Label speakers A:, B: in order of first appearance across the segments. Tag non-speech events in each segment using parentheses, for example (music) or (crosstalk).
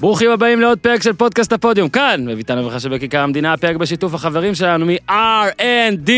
A: ברוכים הבאים לעוד פרק של פודקאסט הפודיום, כאן, בביתן אברכה שבכיכר המדינה, הפרק בשיתוף החברים שלנו מ-R&D,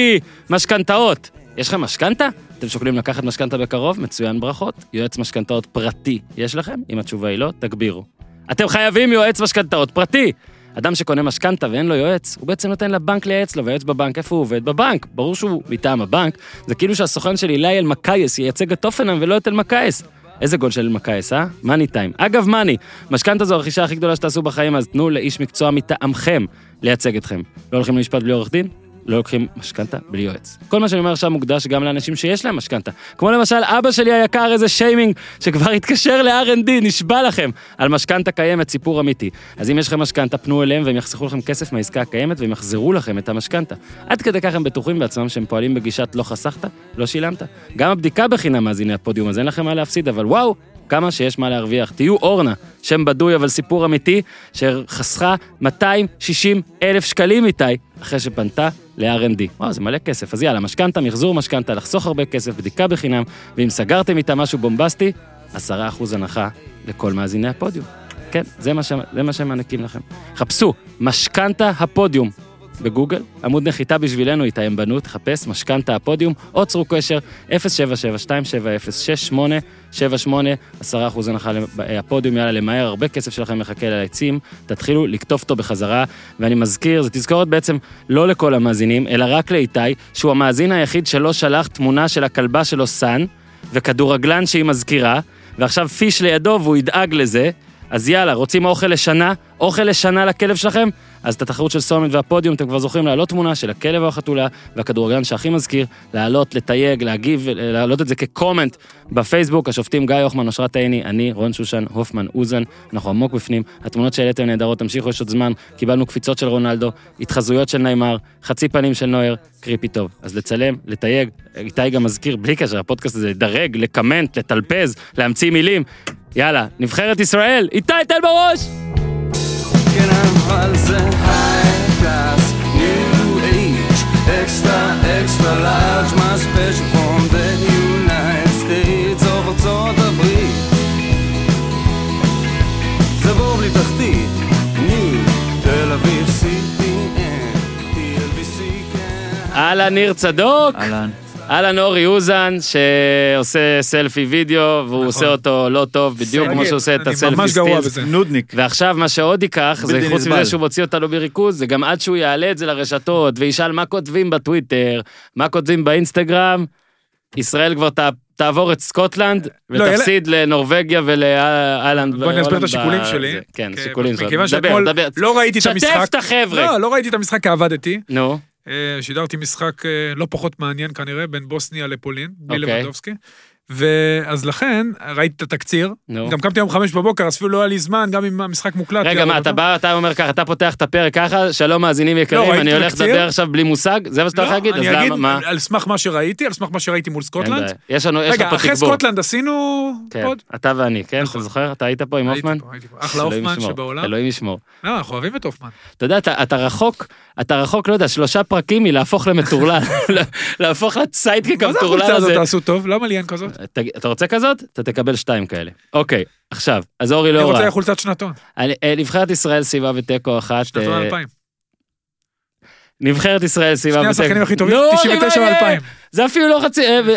A: משכנתאות. יש לכם משכנתה? אתם שוקלים לקחת משכנתה בקרוב? מצוין ברכות. יועץ משכנתאות פרטי יש לכם? אם התשובה היא לא, תגבירו. אתם חייבים יועץ משכנתאות פרטי! אדם שקונה משכנתה ואין לו יועץ, הוא בעצם נותן לבנק לייעץ לו, והיועץ בבנק, איפה הוא עובד? בבנק. ברור שהוא מטעם הבנק, זה כאילו שהסוכן של אילי אלמקייס ייצג את טופנהאם ולא את אלמקייס. איזה גול של אלמקייס, אה? מאני טיים. אגב, מאני, משכנתה זו הרכישה הכי גדולה שתעשו בחיים, אז תנו לאיש מקצוע מטעמכם לייצג אתכם. לא הולכים למשפט בלי עורך דין? לא לוקחים משכנתה בלי יועץ. כל מה שאני אומר עכשיו מוקדש גם לאנשים שיש להם משכנתה. כמו למשל אבא שלי היקר, איזה שיימינג, שכבר התקשר ל-R&D, נשבע לכם. על משכנתה קיימת, סיפור אמיתי. אז אם יש לכם משכנתה, פנו אליהם והם יחסכו לכם כסף מהעסקה הקיימת והם יחזרו לכם את המשכנתה. עד כדי כך הם בטוחים בעצמם שהם פועלים בגישת לא חסכת, לא שילמת. גם הבדיקה בחינם מאזיני הפודיום, אז אין לכם מה להפסיד, אבל וואו, כמה שיש מה להרוויח. תהיו אורנה, שם בדוי אבל סיפור אמיתי, שחסכה 260 אלף שקלים איתי, אחרי שפנתה ל-R&D. וואו, זה מלא כסף. אז יאללה, משכנתה, מחזור משכנתה, לחסוך הרבה כסף, בדיקה בחינם, ואם סגרתם איתה משהו בומבסטי, 10% הנחה לכל מאזיני הפודיום. כן, זה מה, ש... זה מה שהם מעניקים לכם. חפשו, משכנתה הפודיום. בגוגל, עמוד נחיתה בשבילנו, איתי הם בנו, תחפש, משכנתה הפודיום, או צרו קשר, 077-270-6878, 10% הנחה לפודיום, יאללה, למהר, הרבה כסף שלכם מחכה על העצים, תתחילו לקטוף אותו בחזרה, ואני מזכיר, זו תזכורת בעצם לא לכל המאזינים, אלא רק לאיתי, שהוא המאזין היחיד שלא שלח תמונה של הכלבה שלו סאן, וכדורגלן שהיא מזכירה, ועכשיו פיש לידו והוא ידאג לזה. אז יאללה, רוצים אוכל לשנה? אוכל לשנה לכלב שלכם? אז את התחרות של סומט והפודיום אתם כבר זוכרים להעלות תמונה של הכלב או החתולה והכדורגלן שהכי מזכיר, להעלות, לתייג, להגיב, להעלות את זה כקומנט בפייסבוק, השופטים גיא הוחמן, אושרת עיני, אני, רון שושן, הופמן, אוזן, אנחנו עמוק בפנים, התמונות שהעליתם נהדרות, תמשיכו, יש עוד זמן, קיבלנו קפיצות של רונלדו, התחזויות של נאמר, חצי פנים של נויר, קריפי טוב. אז לצלם, לתייג, איתי גם מזכיר, בלי קשר, הפודקאסט הזה, לדרג, לקמנט, לטלפז, להמציא מילים. יאללה, נבחרת ישראל, איתי תן בראש!
B: כן, אבל זה high class, new age, extra, extra large, my special from the United States, או ארצות הברית. זה בור בלי תחתית, new, תל אביב, CPN, TLBC, כן.
A: אהלן ניר צדוק!
C: אהלן.
A: אהלן אורי אוזן, שעושה סלפי וידאו, והוא עושה אותו לא טוב, בדיוק כמו שהוא עושה את
D: נכון. אני
A: הסלפי
D: ממש גרוע
A: סטילס.
D: בזה.
C: נודניק.
A: ועכשיו מה שעוד ייקח, זה
C: בלתי
A: חוץ
C: נסבל.
A: מזה שהוא מוציא אותנו מריכוז, זה גם עד שהוא יעלה את זה לרשתות, וישאל מה כותבים בטוויטר, מה כותבים באינסטגרם, ישראל כבר ת- תעבור את סקוטלנד,
D: לא, אלה-
A: ותפסיד לנורבגיה ולאלנד.
D: בוא אני אסביר את
A: והולנד
D: השיקולים
A: ב-
D: שלי.
A: לא זה- כן,
D: כי-
A: שיקולים שלך.
D: מכיוון
A: דבר,
D: שאתמול
A: דבר.
D: לא ראיתי את המשחק.
A: שתף את החבר'ה.
D: לא, לא ראיתי את המשחק כי עבדתי.
A: נו,
D: אה, שידרתי משחק אה, לא פחות מעניין כנראה, בין בוסניה לפולין, בלי
A: אוקיי.
D: לבנדובסקי. ואז לכן, ראיתי את התקציר.
A: נו.
D: גם קמתי היום חמש בבוקר, אז אפילו לא היה לי זמן, גם אם המשחק מוקלט.
A: רגע,
D: יאללה,
A: מה, אתה
D: אוקיי, אבל-
A: בא, אתה אומר ככה, אתה פותח את הפרק ככה, שלום מאזינים יקרים,
D: לא, ראיתי
A: אני הולך
D: תקציר.
A: לדבר עכשיו בלי מושג, זה מה שאתה הולך
D: לא,
A: להגיד, אז
D: אני אגיד
A: למה, מה?
D: על- על סמך מה שראיתי, על סמך מה שראיתי מול
A: אין
D: סקוטלנד.
A: בעיה. יש לנו, יש לך
D: רגע,
A: פה
D: אחרי
A: תגבור.
D: סקוטלנד עשינו
A: כן,
D: עוד.
A: אתה ואני, כן? אתה
D: נכון.
A: זוכר? אתה היית פה עם
D: הייתי
A: הופמן?
D: פה, הייתי פה. אחלה
A: אלוהים
D: הופמן
A: ישמור,
D: שבעולם.
A: אלוהים ישמור.
D: לא, אנחנו אוהבים את הופמן.
A: אתה יודע, אתה אתה רחוק, אתה רחוק, לא יודע, שלושה פרקים מלהפוך
D: (laughs)
A: למטורלל, להפוך לציידקיק
D: מה זה
A: המטורלל
D: החולצה הזאת
A: הזה.
D: תעשו טוב? למה לי אין כזאת?
A: תגיד, אתה רוצה כזאת? אתה תקבל שתיים כאלה. אוקיי, עכשיו, אז אורי
D: אני
A: לא רע.
D: רוצה חולצת שנתון.
A: אני- אה, נבחרת ישראל סיימה בתיקו אחת.
D: שנתון
A: אה,
D: 2000.
A: נבחרת ישראל סיימה
D: שני השחקנים הכי טובים,
A: נו,
D: 99
A: ריבלין!
D: ו-2000.
A: זה אפילו לא חצי... אה, ו-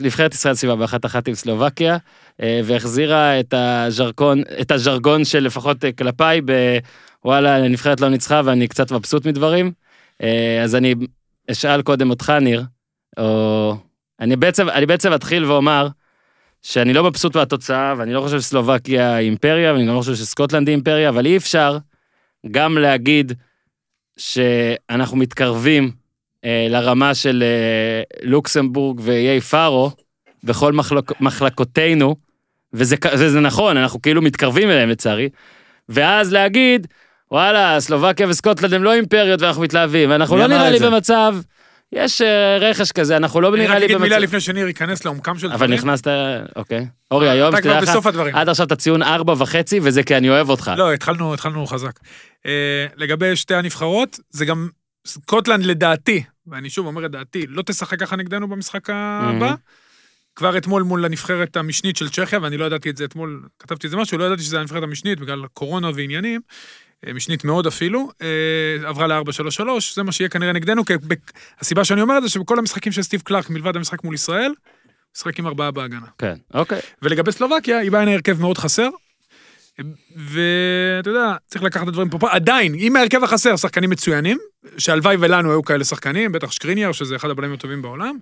A: נבחרת ישראל סיימה באחת אחת עם סלובקיה, אה, והחזירה את הז'רגון, את הז'רגון של לפחות אה, כלפיי, ב- וואלה, הנבחרת לא ניצחה ואני קצת מבסוט מדברים. אה, אז אני אשאל קודם אותך, ניר, או... אני בעצם, אני בעצם אתחיל ואומר שאני לא מבסוט מהתוצאה, ואני לא חושב שסלובקיה היא אימפריה, ואני גם לא חושב שסקוטלנד היא אימפריה, אבל אי אפשר גם להגיד שאנחנו מתקרבים אה, לרמה של אה, לוקסמבורג ואיי פארו בכל מחלק, מחלקותינו, וזה, כ- וזה נכון, אנחנו כאילו מתקרבים אליהם לצערי, ואז להגיד, וואלה, סלובקיה וסקוטלנד הם לא אימפריות ואנחנו מתלהבים, ואנחנו
C: מי
A: לא
C: אמר
A: נראה
C: את
A: לי
C: זה?
A: במצב, יש אה, רכש כזה, אנחנו לא
D: אני
A: נראה
D: רק
A: לי
D: אגיד מילה
A: במצב...
D: לפני שניר ייכנס לעומקם של
A: אבל
D: דברים.
A: נכנסת, אוקיי. אורי, היום,
D: אתה
A: שתדע
D: כבר
A: לך,
D: בסוף הדברים.
A: עד עכשיו אתה ציון ארבע וחצי, וזה כי אני אוהב אותך.
D: לא, התחלנו התחלנו חזק. אה, לגבי שתי הנבחרות, זה גם סקוטלנד לדעתי, ואני שוב אומר את דעתי, לא תשחק ככה נגדנו במשחק הבא. כבר אתמול מול הנבחרת המשנית של צ'כיה, ואני לא ידעתי את זה אתמול, כתבתי את זה משהו, לא ידעתי שזה הנבחרת המשנית בגלל קורונה ועניינים, אה, משנית מאוד אפילו, אה, עברה ל-4-3-3, זה מה שיהיה כנראה נגדנו, כי בק- הסיבה שאני אומר את זה שבכל המשחקים של סטיב קלארק, מלבד המשחק מול ישראל, משחק עם ארבעה בהגנה.
A: כן, אוקיי.
D: ולגבי סלובקיה, היא באה עם הרכב מאוד חסר. ואתה יודע, צריך לקחת את הדברים פה, עדיין, עם ההרכב החסר, שחקנים מצוינים, שהלוואי ולנו היו כאלה שחקנים, בטח שקריניאר, שזה אחד הבלמים הטובים בעולם,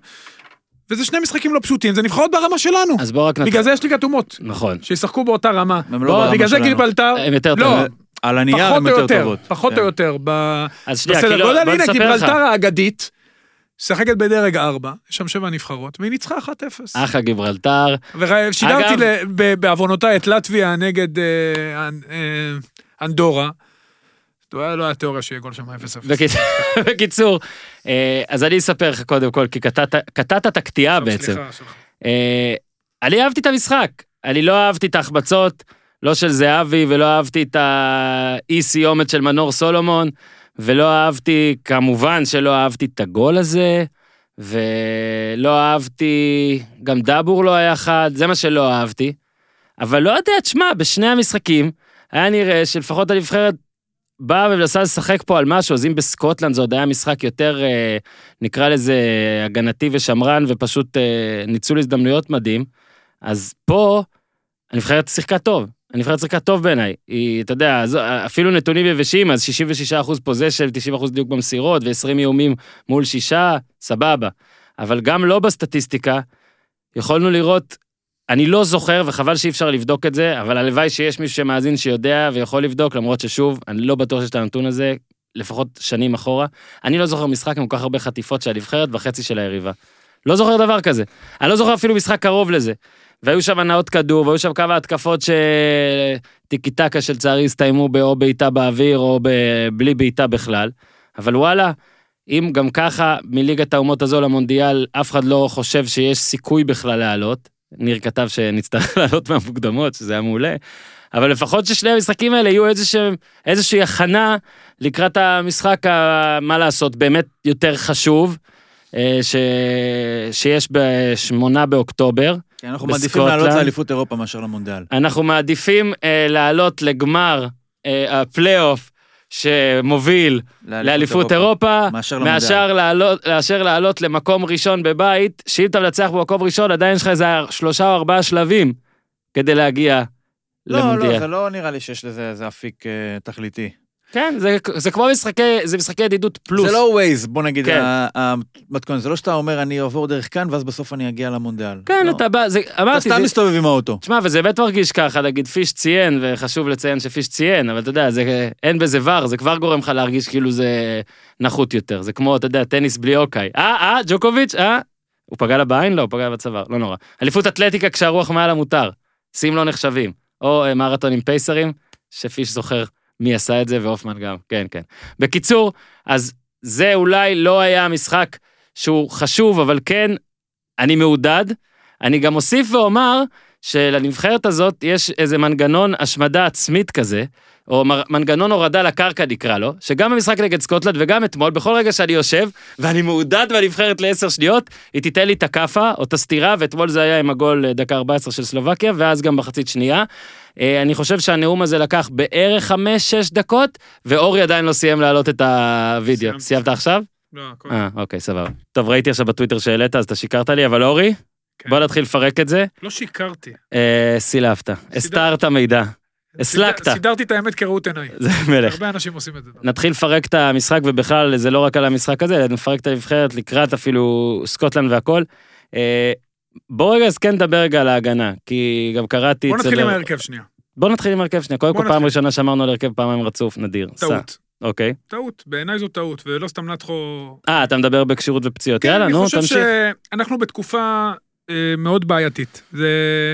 D: וזה שני משחקים לא פשוטים, זה נבחרות ברמה שלנו.
A: אז בואו רק נתחיל.
D: בגלל זה יש לי כתומות,
A: נכון.
D: שישחקו באותה רמה.
C: הם לא ברמה
D: בגלל זה גיל
C: שלנו.
D: בלטר,
A: הם יותר
D: לא,
A: טובים.
C: על הנייר
D: פחות
C: הן
D: או
C: יותר
D: יותר,
C: טובות.
D: פחות
C: כן.
D: או יותר, ב-
A: אז שנייה,
D: בסדר
A: כאילו,
D: גודל,
A: בוא
D: הנה
A: נספר לך.
D: גיברלטר האגדית, משחקת בדרג 4, יש שם שבע נבחרות, והיא ניצחה 1-0.
A: אחלה גיברלטר.
D: ושידרתי
A: אגב-
D: ל- ב- בעוונותיי את לטביה נגד אה, אנ- אה, אנדורה. אתה יודע, לא היה תיאוריה שיהיה גול שם 0-0.
A: בקיצ- (laughs) בקיצור, אה, אז אני אספר לך קודם כל, כי קטעת- קטעת את הקטיעה
D: עכשיו,
A: בעצם.
D: לא, סליחה, שלך.
A: אה, אני אהבתי את המשחק, אני לא אהבתי את ההחבצות, לא של זהבי ולא אהבתי את האי סיומת של מנור סולומון, ולא אהבתי, כמובן שלא אהבתי את הגול הזה, ולא אהבתי, גם דאבור לא היה חד, זה מה שלא אהבתי. אבל לא יודע, תשמע, בשני המשחקים היה נראה שלפחות הנבחרת באה ומנסה לשחק פה על משהו, אז אם בסקוטלנד זה עוד היה משחק יותר, אה, נקרא לזה, אה, הגנתי ושמרן, ופשוט אה, ניצול הזדמנויות מדהים, אז פה הנבחרת שיחקה טוב. הנבחרת שיחקה טוב בעיניי. היא, אתה יודע, זו- אה, אפילו נתונים יבשים, אז 66% פוזיישן, 90% דיוק במסירות, ו-20 איומים מול שישה, סבבה. אבל גם לא בסטטיסטיקה, יכולנו לראות, אני לא זוכר, וחבל שאי אפשר לבדוק את זה, אבל הלוואי שיש מישהו שמאזין שיודע ויכול לבדוק, למרות ששוב, אני לא בטוח שיש את הנתון הזה, לפחות שנים אחורה. אני לא זוכר משחק עם כל כך הרבה חטיפות של הנבחרת בחצי של היריבה. לא זוכר דבר כזה. אני לא זוכר אפילו משחק קרוב לזה. והיו שם הנעות כדור, והיו שם כמה התקפות ש- טיקי טקה שלצערי הסתיימו ב- או בעיטה באוויר או ב... בלי בעיטה בכלל. אבל וואלה, אם גם ככה מליגת האומות הזו למונדיאל, אף אחד לא חושב שיש סיכוי בכלל לעלות. ניר כתב שנצטרך (laughs) לעלות מהמוקדמות, שזה היה מעולה. אבל לפחות ששני המשחקים האלה יהיו איזשהם- איזושהי הכנה לקראת המשחק, ה- מה לעשות, באמת יותר חשוב, אה, ש... שיש בשמונה באוקטובר.
C: כן, אנחנו מעדיפים לעלות
A: בסקוטלנד.
C: לאליפות אירופה מאשר למונדיאל.
A: אנחנו מעדיפים אה, לעלות לגמר אה, הפלייאוף שמוביל לאליפות אירופה,
C: מאשר למונדיאל.
A: מאשר לעלות, מאשר לעלות למקום ראשון בבית, שאם אתה מנצח במקום ראשון, עדיין יש לך איזה שלושה או ארבעה שלבים כדי להגיע
C: לא,
A: למונדיאל.
C: לא, זה לא נראה לי שיש לזה איזה אפיק אה, תכליתי.
A: כן, זה, זה כמו משחקי, זה משחקי ידידות פלוס.
C: זה לא ווייז, בוא נגיד,
A: כן.
C: ה- המתכון. זה לא שאתה אומר, אני אעבור דרך כאן, ואז בסוף אני אגיע למונדיאל.
A: כן,
C: לא.
A: אתה בא, זה,
C: אתה
A: אמרתי,
C: סתם
A: זה-
C: מסתובב עם האוטו.
A: תשמע, וזה באמת מרגיש ככה, נגיד פיש ציין, וחשוב לציין שפיש ציין, אבל אתה יודע, זה, אין בזה ור, זה כבר גורם לך להרגיש כאילו זה נחות יותר. זה כמו, אתה יודע, טניס בלי אוקיי. אה, אה, ג'וקוביץ', אה? הוא פגע לה בעין? לא, הוא פגע לה בצוואר, לא נורא. אליפות אתלטיקה כשהרוח מעל המותר, שיאים לא נחשבים. או אה, מרתון עם פייסרים, שפיש זוכר מי עשה את זה, והופמן גם, כן, כן. בקיצור, אז זה אולי לא היה המשחק שהוא חשוב, אבל כן, אני מעודד. אני גם אוסיף ואומר שלנבחרת הזאת יש איזה מנגנון השמדה עצמית כזה, או מר- מנגנון הורדה לקרקע נקרא לו, שגם במשחק נגד סקוטלנד וגם אתמול, בכל רגע שאני יושב, ואני מעודד מהנבחרת לעשר שניות, היא תיתן לי את הכאפה או את הסטירה, ואתמול זה היה עם הגול אה, דקה 14 של סלובקיה, ואז גם מחצית שנייה. אה, אני חושב שהנאום הזה לקח בערך 5-6 דקות, ואורי עדיין לא סיים להעלות את הוידאו.
D: סיימתי.
A: סיימת עכשיו?
D: לא, הכל.
A: אה, אוקיי, סבבה. טוב, ראיתי עכשיו בטוויטר שהעלית, אז אתה שיקרת לי, אבל אורי,
D: כן.
A: בוא נתחיל לפרק את זה.
D: לא שיקרתי.
A: אה, סילפת, הסתרת מידע, הסלקת,
D: סידר- סידרתי את האמת כראות עיניי.
A: זה מלך.
D: הרבה אנשים עושים את זה.
A: נתחיל לפרק את המשחק, ובכלל זה לא רק על המשחק הזה, אלא נפרק את הנבחרת לקראת אפילו סקוטלנד והכל. אה, בוא רגע, אז כן נדבר רגע על ההגנה, כי גם קראתי...
D: בוא
A: אצל-
D: נתחיל עם ההרכב שנייה.
A: בוא נתחיל עם הרכב שנייה, קודם
D: בוא
A: כל פעם
D: נתחיל.
A: ראשונה שאמרנו על הרכב פעמיים רצוף, נדיר. סע.
D: טעות.
A: אוקיי.
D: טעות, בעיניי זו טעות, ולא סתם נתחו
A: אה, אתה מדבר בכשירות ופציעות,
D: כן,
A: יאללה, נו,
D: אני
A: תמשיך.
D: חושב שאנחנו בתקופה אה, מאוד בעייתית. זה...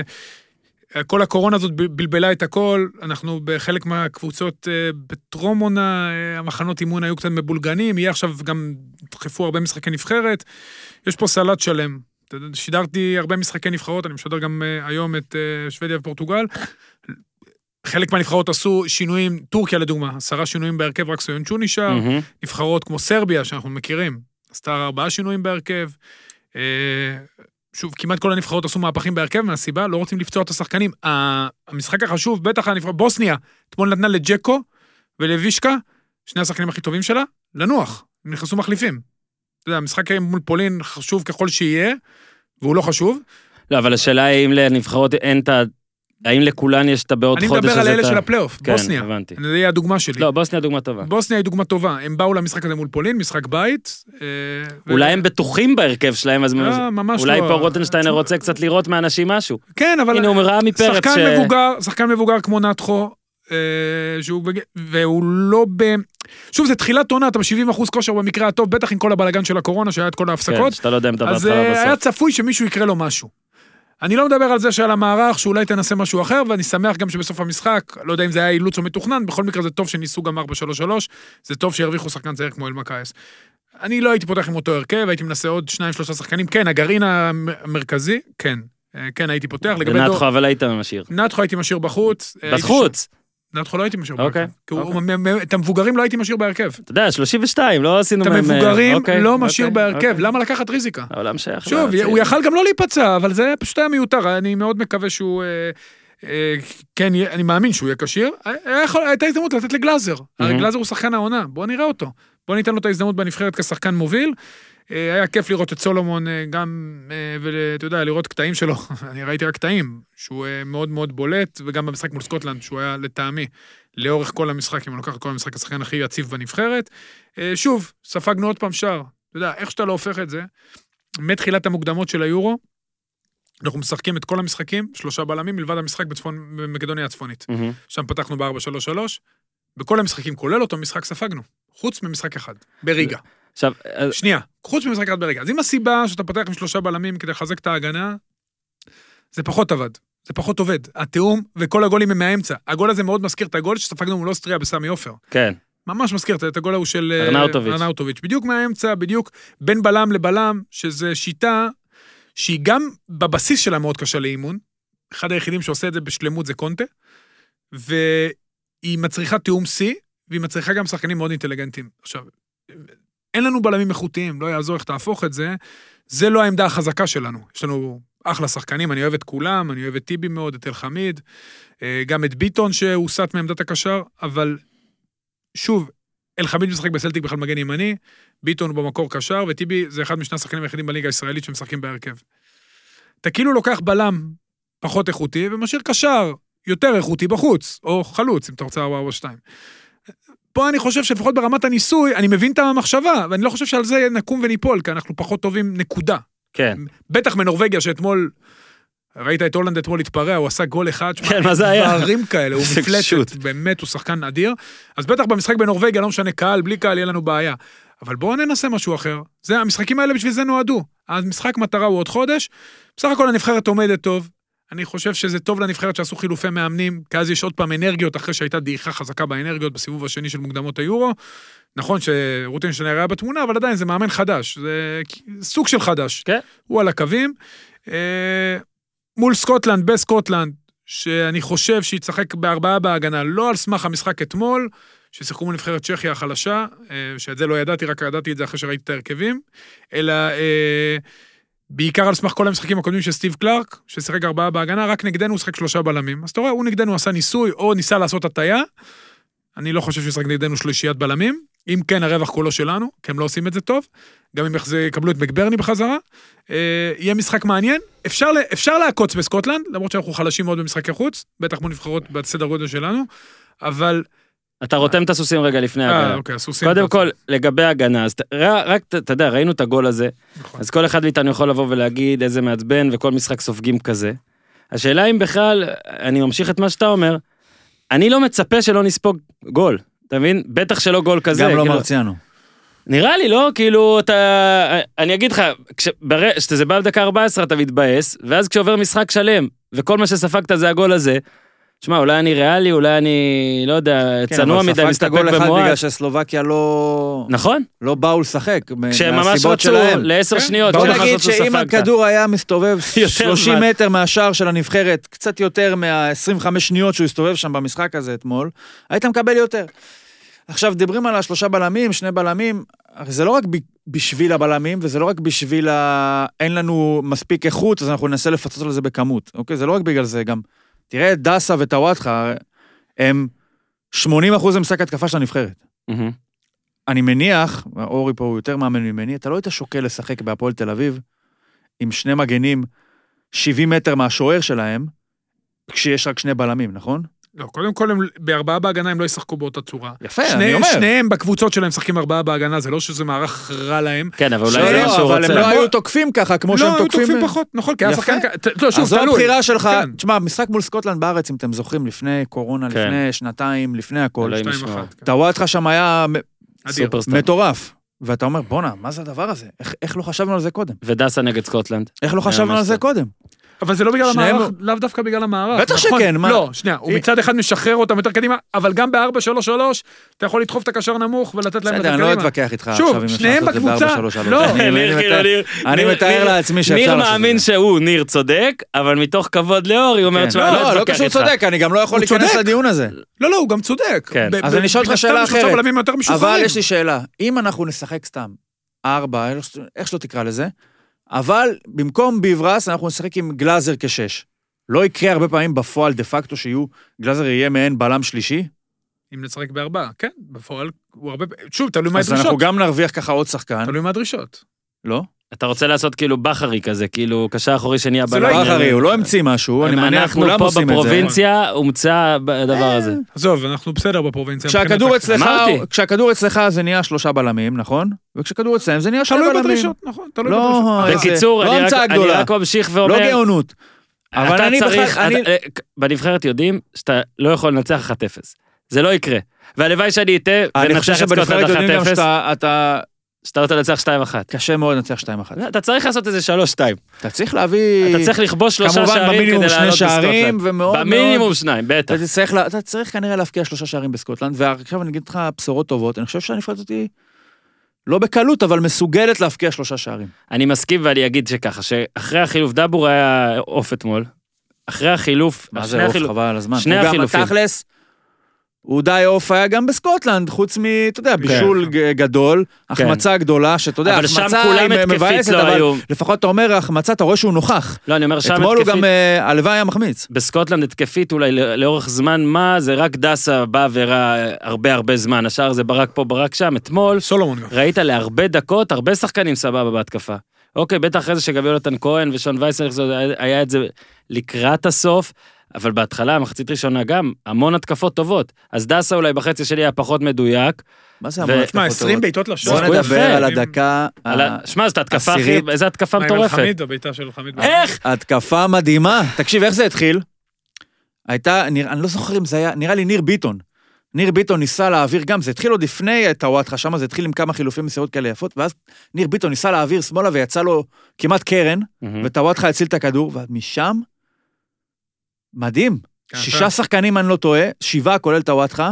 D: כל הקורונה הזאת ב- בלבלה את הכל, אנחנו בחלק מהקבוצות אה, בטרום עונה, אה, המחנות אימון היו קצת מבולגנים, יהיה עכשיו גם, דחפו הרבה משחקי נבחרת, יש פה סלט שלם. אתה יודע, שידרתי הרבה משחקי נבחרות, אני משדר גם אה, היום את אה, שוודיה ופורטוגל. חלק מהנבחרות עשו שינויים, טורקיה לדוגמה, עשרה שינויים בהרכב, רק סויונצ'ו נשאר.
A: מהמם.
D: נבחרות כמו סרביה, שאנחנו מכירים, עשתה ארבעה שינויים בהרכב. אה, שוב, כמעט כל הנבחרות עשו מהפכים בהרכב מהסיבה, לא רוצים לפצוע את השחקנים. ה- המשחק החשוב, בטח הנבחרת, בוסניה, אתמול נתנה לג'קו ולווישקה, שני השחקנים הכי טובים שלה, לנוח, הם נכנסו מחליפים. אתה יודע, המשחק היום מול פולין חשוב ככל שיהיה, והוא לא חשוב.
A: לא, אבל השאלה היא אם לנבחרות אין את ה... האם לכולן יש את הבעוד
D: אני
A: חודש הזה?
D: מדבר על
A: את
D: אלה
A: ה-
D: של הפלייאוף,
A: כן,
D: בוסניה.
A: הבנתי.
D: זה יהיה הדוגמה שלי.
A: לא, בוסניה דוגמה טובה.
D: בוסניה היא דוגמה טובה, הם באו למשחק הזה מול פולין, משחק בית. אה, ו-
A: אולי הם בטוחים בהרכב שלהם, אז
D: לא, ממש
A: אולי
D: לא.
A: פה רוטנשטיינר רוצה קצת לראות מאנשים משהו.
D: כן, אבל...
A: הנה, הוא ראה מפרץ
D: שחקן
A: ש-
D: מבוגר, שחקן מבוגר כמו נתחו, אה, שהוא... בג- והוא לא ב... שוב, זה תחילת עונה, אתה ב-70% כושר במקרה הטוב, בטח עם כל הבלאגן של הקורונה, שהיה את כל
A: כן,
D: ההפסקות.
A: שאתה לא יודע אם אתה
D: אז
A: בהתחלה
D: אה, היה
A: בסוף.
D: צפוי שמישהו יקרה לו משהו. אני לא מדבר על זה שעל המערך, שאולי תנסה משהו אחר, ואני שמח גם שבסוף המשחק, לא יודע אם זה היה אילוץ או מתוכנן, בכל מקרה זה טוב שניסו גם 4-3-3, זה טוב שהרוויחו שחקן צעיר כמו אלמקייס. אני לא הייתי פותח עם אותו הרכב, הייתי מנסה עוד שניים, שלושה שחקנים. כן, הגרעין המ- המרכזי, כן. אה, כן, הייתי פותח. לגבי דור-
A: ונתחו, אבל היית משאיר.
D: נתחו הייתי משאיר בחוץ. אה, הייתי
A: בחוץ,
D: משאיר- נתחו לא הייתי משאיר
A: אוקיי,
D: בהרכב. כי הוא-
A: אוקיי.
D: מ- מ- את המבוגרים לא הייתי משאיר בהרכב.
A: אתה יודע, 32, לא עשינו
D: את
A: מהם... אה,
D: המבוגרים
A: אוקיי,
D: לא
A: אוקיי,
D: משאיר בהרכב,
A: אוקיי.
D: למה לקחת ריזיקה?
A: העולם שייך.
D: שוב,
A: לארץ.
D: הוא יכל גם לא להיפצע, אבל זה פשוט היה מיותר, אני מאוד מקווה שהוא... אה, אה, כן, יהיה- אני מאמין שהוא יהיה כשיר. היה יכול- הייתה הזדמנות לתת לגלאזר. הרי גלאזר הוא שחקן העונה, בואו נראה אותו. בואו ניתן לו את ההזדמנות בנבחרת כשחקן מוביל. אה, היה כיף לראות את סולומון אה, גם, ואתה יודע, לראות קטעים שלו, (laughs) אני ראיתי רק קטעים, שהוא אה, מאוד מאוד בולט, וגם במשחק מול סקוטלנד, שהוא היה לטעמי, לאורך כל המשחק, אם אני לוקח את כל המשחק, השחקן הכי יציב בנבחרת. אה, שוב, ספגנו עוד פעם שער. אתה יודע, איך שאתה לא הופך את זה, מתחילת המוקדמות של היורו, אנחנו משחקים את כל המשחקים, שלושה בלמים, מלבד המשחק בצפון, במקדוניה הצפונית.
A: מהמם.
D: שם פתחנו ב-4-3-3, בכל המשחקים, כולל אותו משחק, ספגנו. חוץ ממשחק אחד, בריגה.
A: עכשיו, אה, אז-
D: שנייה, חוץ ממשחק אחד ברגע. אז אם הסיבה שאתה פותח עם שלושה בלמים כדי לחזק את ההגנה, זה פחות עבד. זה פחות עובד. התיאום וכל הגולים הם מהאמצע. הגול הזה מאוד מזכיר את הגול שספגנו מול אוסטריה בסמי עופר.
A: כן,
D: ממש מזכיר את- את הגול ההוא של... אה,
A: ארנאוטוביץ'.
D: ארנאוטוביץ'. בדיוק מהאמצע, בדיוק בין בלם לבלם, שזה שיטה שהיא גם בבסיס שלה מאוד קשה לאימון. אחד היחידים שעושה את זה בשלמות זה קונטה. והיא מצריכה תיאום שיא, והיא מצריכה גם שחקנים מאוד אינטליגנטים. עכשיו, אין לנו בלמים איכותיים, לא יעזור איך תהפוך את זה. זה לא העמדה החזקה שלנו. יש לנו אחלה שחקנים, אני אוהב את כולם, אני אוהב את טיבי מאוד, את אלחמיד, אה, גם את ביטון שהוסט מעמדת הקשר, אבל שוב, אלחמיד משחק בסלטיק בכלל מגן ימני, ביטון הוא במקור קשר, וטיבי זה אחד משני השחקנים היחידים בליגה הישראלית שמשחקים בהרכב. אתה כאילו לוקח בלם פחות איכותי ומשאיר קשר יותר איכותי בחוץ, או חלוץ, אם אתה רוצה 4-4-2. פה אני חושב שלפחות ברמת הניסוי, אני מבין את המחשבה, ואני לא חושב שעל זה נקום וניפול, כי אנחנו פחות טובים, נקודה.
A: כן.
D: בטח מנורבגיה שאתמול, ראית את הולנד אתמול התפרע, הוא עשה גול אחד, שמע,
A: כן, מה זה היה?
D: דברים כאלה, הוא
A: (laughs) זה פשוט.
D: מפלצת, באמת, הוא שחקן אדיר. אז בטח במשחק בנורבגיה, לא משנה, קהל, בלי קהל, יהיה לנו בעיה. אבל בואו ננסה משהו אחר. זה, המשחקים האלה בשביל זה נועדו. המשחק מטרה הוא עוד חודש. בסך הכל הנבחרת עומדת טוב. אני חושב שזה טוב לנבחרת שעשו חילופי מאמנים, כי אז יש עוד פעם אנרגיות, אחרי שהייתה דעיכה חזקה באנרגיות בסיבוב השני של מוקדמות היורו. נכון שרוטינשטיינר היה בתמונה, אבל עדיין זה מאמן חדש, זה סוג של חדש.
A: כן.
D: הוא על הקווים. אה, מול סקוטלנד, בסקוטלנד, שאני חושב שיצחק בארבעה בהגנה, לא על סמך המשחק אתמול, ששיחקו מול נבחרת צ'כיה החלשה, אה, שאת זה לא ידעתי, רק ידעתי את זה אחרי שראיתי את ההרכבים, אלא אה, בעיקר על סמך כל המשחקים הקודמים של סטיב קלארק, ששיחק ארבעה בהגנה, רק נגדנו הוא שיחק שלושה בלמים. אז אתה רואה, הוא נגדנו עשה ניסוי, או ניסה לעשות הטיה. אני לא חושב שהוא ישחק נגדנו שלישיית בלמים. אם כן, הרווח כולו שלנו, כי הם לא עושים את זה טוב. גם אם יחז- יקבלו את מקברני בחזרה. אה, יהיה משחק מעניין. אפשר, ל- אפשר לעקוץ בסקוטלנד, למרות שאנחנו חלשים מאוד במשחקי חוץ, בטח מול נבחרות בסדר גודל שלנו, אבל...
A: אתה רותם את הסוסים רגע לפני
D: אה,
A: ההגנה.
D: אוקיי, הסוסים.
A: קודם כל, לגבי ההגנה, אז ת- ר- רק, ת- אתה יודע, ראינו את הגול הזה,
D: נכון.
A: אז כל אחד מאיתנו יכול לבוא ולהגיד איזה מעצבן, וכל משחק סופגים כזה. השאלה אם בכלל, אני ממשיך את מה שאתה אומר, אני לא מצפה שלא נספוג גול, אתה מבין? בטח שלא גול כזה.
C: גם לא
A: כאילו-
C: מרציאנו.
A: נראה לי, לא? כאילו, אתה... אני אגיד לך, כשזה בא בדקה 14 אתה מתבאס, ואז כשעובר משחק שלם, וכל מה שספגת זה הגול הזה, שמע, אולי אני ריאלי, אולי אני, לא יודע,
C: כן,
A: צנוע
C: אבל
A: מדי,
C: ספגת
A: מסתפק
C: גול אחד
A: במועד.
C: בגלל שסלובקיה לא...
A: נכון,
C: לא באו לשחק,
A: כשהם ממש
C: מהסיבות
A: רצו
C: שלהם.
A: לעשר
D: כן,
A: שניות,
C: בוא
A: כל אחד
C: נגיד
A: רצו
C: שאם
A: ספגת.
C: הכדור היה מסתובב
A: יותר
C: 30
A: זמן.
C: מטר מהשער של הנבחרת, קצת יותר מה-25 שניות שהוא הסתובב שם במשחק הזה אתמול, היית מקבל יותר. עכשיו, מדברים על השלושה בלמים, שני בלמים, הרי זה לא רק ב- בשביל הבלמים, וזה לא רק בשביל ה... אין לנו מספיק איכות, אז אנחנו ננסה לפצות על זה בכמות, אוקיי? זה לא רק בגלל זה, גם... תראה את דסה וטוואטחה, הם 80 אחוז הם שק התקפה של הנבחרת.
A: מהמם.
C: אני מניח, אורי פה הוא יותר מאמן ממני, אתה לא היית שוקל לשחק בהפועל תל אביב עם שני מגנים 70 מטר מהשוער שלהם, כשיש רק שני בלמים, נכון?
D: לא, קודם כל, הם, בארבעה בהגנה הם לא ישחקו באותה צורה.
C: יפה, כן, אני
D: שני,
C: אומר.
D: שניהם בקבוצות שלהם משחקים ארבעה בהגנה, זה לא שזה מערך רע להם.
A: כן, אבל אולי
C: לא,
A: זה מה שהוא
C: לא, אבל הם לא
A: רוצה.
C: היו תוקפים ככה, כמו
D: לא,
C: שהם
D: היו
C: תוקפים...
D: תוקפים פחות, נכון, כי היה
C: יפה.
D: שחקן... כ- ת- לא, שוב,
C: אז זו
D: תלוי.
C: הבחירה שלך.
D: כן.
C: תשמע, משחק מול סקוטלנד בארץ, אם אתם זוכרים, לפני קורונה,
A: כן.
C: לפני שנתיים, לפני הכל.
A: אלוהים.
D: שתיים
A: משמעות.
D: אחת, כן.
C: טוואטחה שם היה מ-
D: אדיר.
A: סופרסטאר.
C: מטורף. ואתה אומר, בואנה, מה זה הדבר הזה? איך- איך לא חשבנו על זה קודם?
A: ודסה נגד סקוטלנד.
C: איך לא חשבנו על זה
A: ממש
C: קודם?
D: אבל זה לא בגלל
C: שניהם
D: המערך, לאו דווקא בגלל המערך.
C: בטח
D: נכון?
C: שכן, מה?
D: לא, שנייה, הוא
C: אה.
D: מצד אחד משחרר אותם יותר קדימה, אבל גם ב-4-3-3, אתה יכול לדחוף את הקשר נמוך ולתת להם
C: בסדר,
D: יותר
C: אני לא
D: קדימה.
C: אתווכח איתך
D: שוב,
C: עכשיו אם אפשר
D: שניהם
C: לעשות את זה
D: בקבוצה.
C: ב-4-3-3.
D: לא.
C: (laughs) אני-
A: (laughs)
C: אני
A: ניר,
C: מתאר-
A: כאילו, ניר-
C: אני
A: ניר-
C: מתאר
A: ניר-
C: לעצמי שאפשר
A: ניר
C: לעשות את זה.
A: מאמין שהוא, ניר צודק, אבל מתוך כבוד לאורי, הוא אומר,
C: כן.
A: תשמע, אני
C: לא, לא
A: אתווכח
C: קשור
A: איתך."
C: צודק, אני גם לא יכול
D: הוא
C: להיכנס
D: צודק.
C: לדיון הזה.
D: לא, לא, הוא גם צודק.
A: כן.
D: ב-
C: אז
D: ב-
C: אני אשאל אותך
D: מן הסתם
C: שאלה
D: שלושה
C: אחרת.
D: בלמים יותר משוחררים.
C: אבל יש לי שאלה, אם אנחנו נשחק סתם, ארבע, איך ש- איך שלא תקרא לזה, אבל במקום ביברס אנחנו נשחק עם גלאזר כשש. לא יקרה הרבה פעמים בפועל דה פקטו שיהיו, גלאזר יהיה מעין בלם שלישי,
D: אם נשחק בארבעה, כן, בפועל הוא הרבה... שוב, תלוי מה
C: אז אנחנו
D: הדרישות.
C: גם נרוויח ככה עוד שחקן,
D: תלוי מה הדרישות.
C: לא?
A: אתה רוצה לעשות כאילו בכרי כזה, כאילו קשר אחורי שנהיה
D: זה
A: בלם.
D: לא
C: לא,
D: יקרה.
C: אחרי, הוא לא המציא משהו, אני מניח
A: אנחנו
C: כולם
A: פה
C: עושים את זה.
A: בפרובינציה, הומצא
D: אה.
A: הדבר הזה.
D: עזוב, אנחנו בסדר בפרובינציה.
C: כשהכדור
D: מבחינת
C: אצלך,
A: אמרתי.
C: כשהכדור אצלך זה נהיה שלושה בלמים, נכון? וכשכדור אצלם זה נהיה
D: ה-
C: שני
D: תלוי
C: בלמים.
D: בדרישות, נכון, תלוי
C: לא,
D: בדרישות.
C: איזה-
A: בקיצור,
C: לא
A: אני רק-
C: המצאה
A: אני
C: גדולה.
A: רק ממשיך
C: לא
A: ואומר,
C: גאונות. אבל
A: אתה
C: אני
A: צריך,
C: בכלל- אני-
A: אתה- אה, בנבחרת יודעים שאתה לא יכול לנצח 1-0. זה לא יקרה. והלוואי שאני אטעה
C: אני חושב
A: וננצח את
C: שבנבחרת
A: סקוטלנד 1-0,
C: יודעים גם שאתה אתה-
A: שאתה לא רוצה לנצח 2-1.
C: קשה מאוד לנצח 2-1.
A: אתה צריך לעשות איזה 3-2.
C: אתה צריך להביא...
A: לא. אתה צריך לכבוש שלושה
C: אה, כמובן
A: שערים כדי
C: במינימום
A: לעלות
C: שני שערים,
A: בסקוטלנד.
C: ומאוד מאוד...
A: במינימום שניים, בטח.
C: אתה צריך, לה- אתה צריך כנראה להבקיע שלושה שערים בסקוטלנד, ועכשיו אני אגיד לך בשורות טובות, אני חושב שהנבחרת הזאת היא לא בקלות, אבל מסוגלת להבקיע שלושה שערים.
A: אני מסכים ואני אגיד שככה, שאחרי החילוף, דבור היה עוף אתמול. אחרי החילוף,
C: מה
A: שני
C: זה עוף,
A: החילופ-
C: חבל על הזמן.
A: שני
C: הוא
A: החילופים.
C: גם התכלס, הוא די עוף היה גם בסקוטלנד, חוץ מ... אתה יודע, בישול ג- גדול, החמצה גדולה, שאתה יודע,
A: כן. אבל שם
C: החמצה
A: כולם
C: היא
A: התקפית
C: מבאסת,
A: לא
C: אבל
A: היו.
C: לפחות אתה אומר, החמצה, אתה רואה שהוא נוכח.
A: לא, אני אומר שם
C: אתמול הוא
A: התקפית.
C: גם, אה, הלוואי היה מחמיץ.
A: בסקוטלנד התקפית אולי לא- לאורך זמן מה, זה רק דסה בא וראה הרבה הרבה זמן, השאר זה ברק פה, ברק שם. אתמול
D: סולומון גם.
A: ראית להרבה דקות, הרבה שחקנים סבבה בהתקפה. אוקיי, בטח אחרי זה שגם יונתן כהן ושון וייסנר, זה היה- היה את זה לקראת הסוף, אבל בהתחלה, מחצית ראשונה גם, המון התקפות טובות. אז דסה אולי בחצי שלי היה פחות מדויק.
C: מה זה
A: ו-
C: המון התקפות
D: שמע, 20
C: טובות?
D: בעיטות
C: בוא
D: לשער.
A: שיחקו
C: נדבר
A: יפה.
C: על הדקה,
A: על ה- שמע, זאת התקפה הכי,
C: אה, עשירית.
A: איזו התקפה
D: מה, עם
A: מטורפת.
D: אלחמיד, הבעיטה של חמיד.
C: אה,
A: איך?
C: התקפה מדהימה. תקשיב, איך זה התחיל? הייתה, נרא, אני לא זוכר אם זה היה, נראה לי ניר ביטון. ניר ביטון ניסה להעביר גם, זה התחיל עוד לפני טוואטחה, שם זה התחיל עם כמה חילופי מסירות כאלה יפות, ואז ניר ביטון ניסה להעביר שמאלה ויצא לו כמעט קרן,
A: מהמם.
C: וטוואטחה הציל את הכדור, ומשם, מדהים.
D: כן,
C: שישה שחקנים, אני לא טועה, שבעה כולל טוואטחה,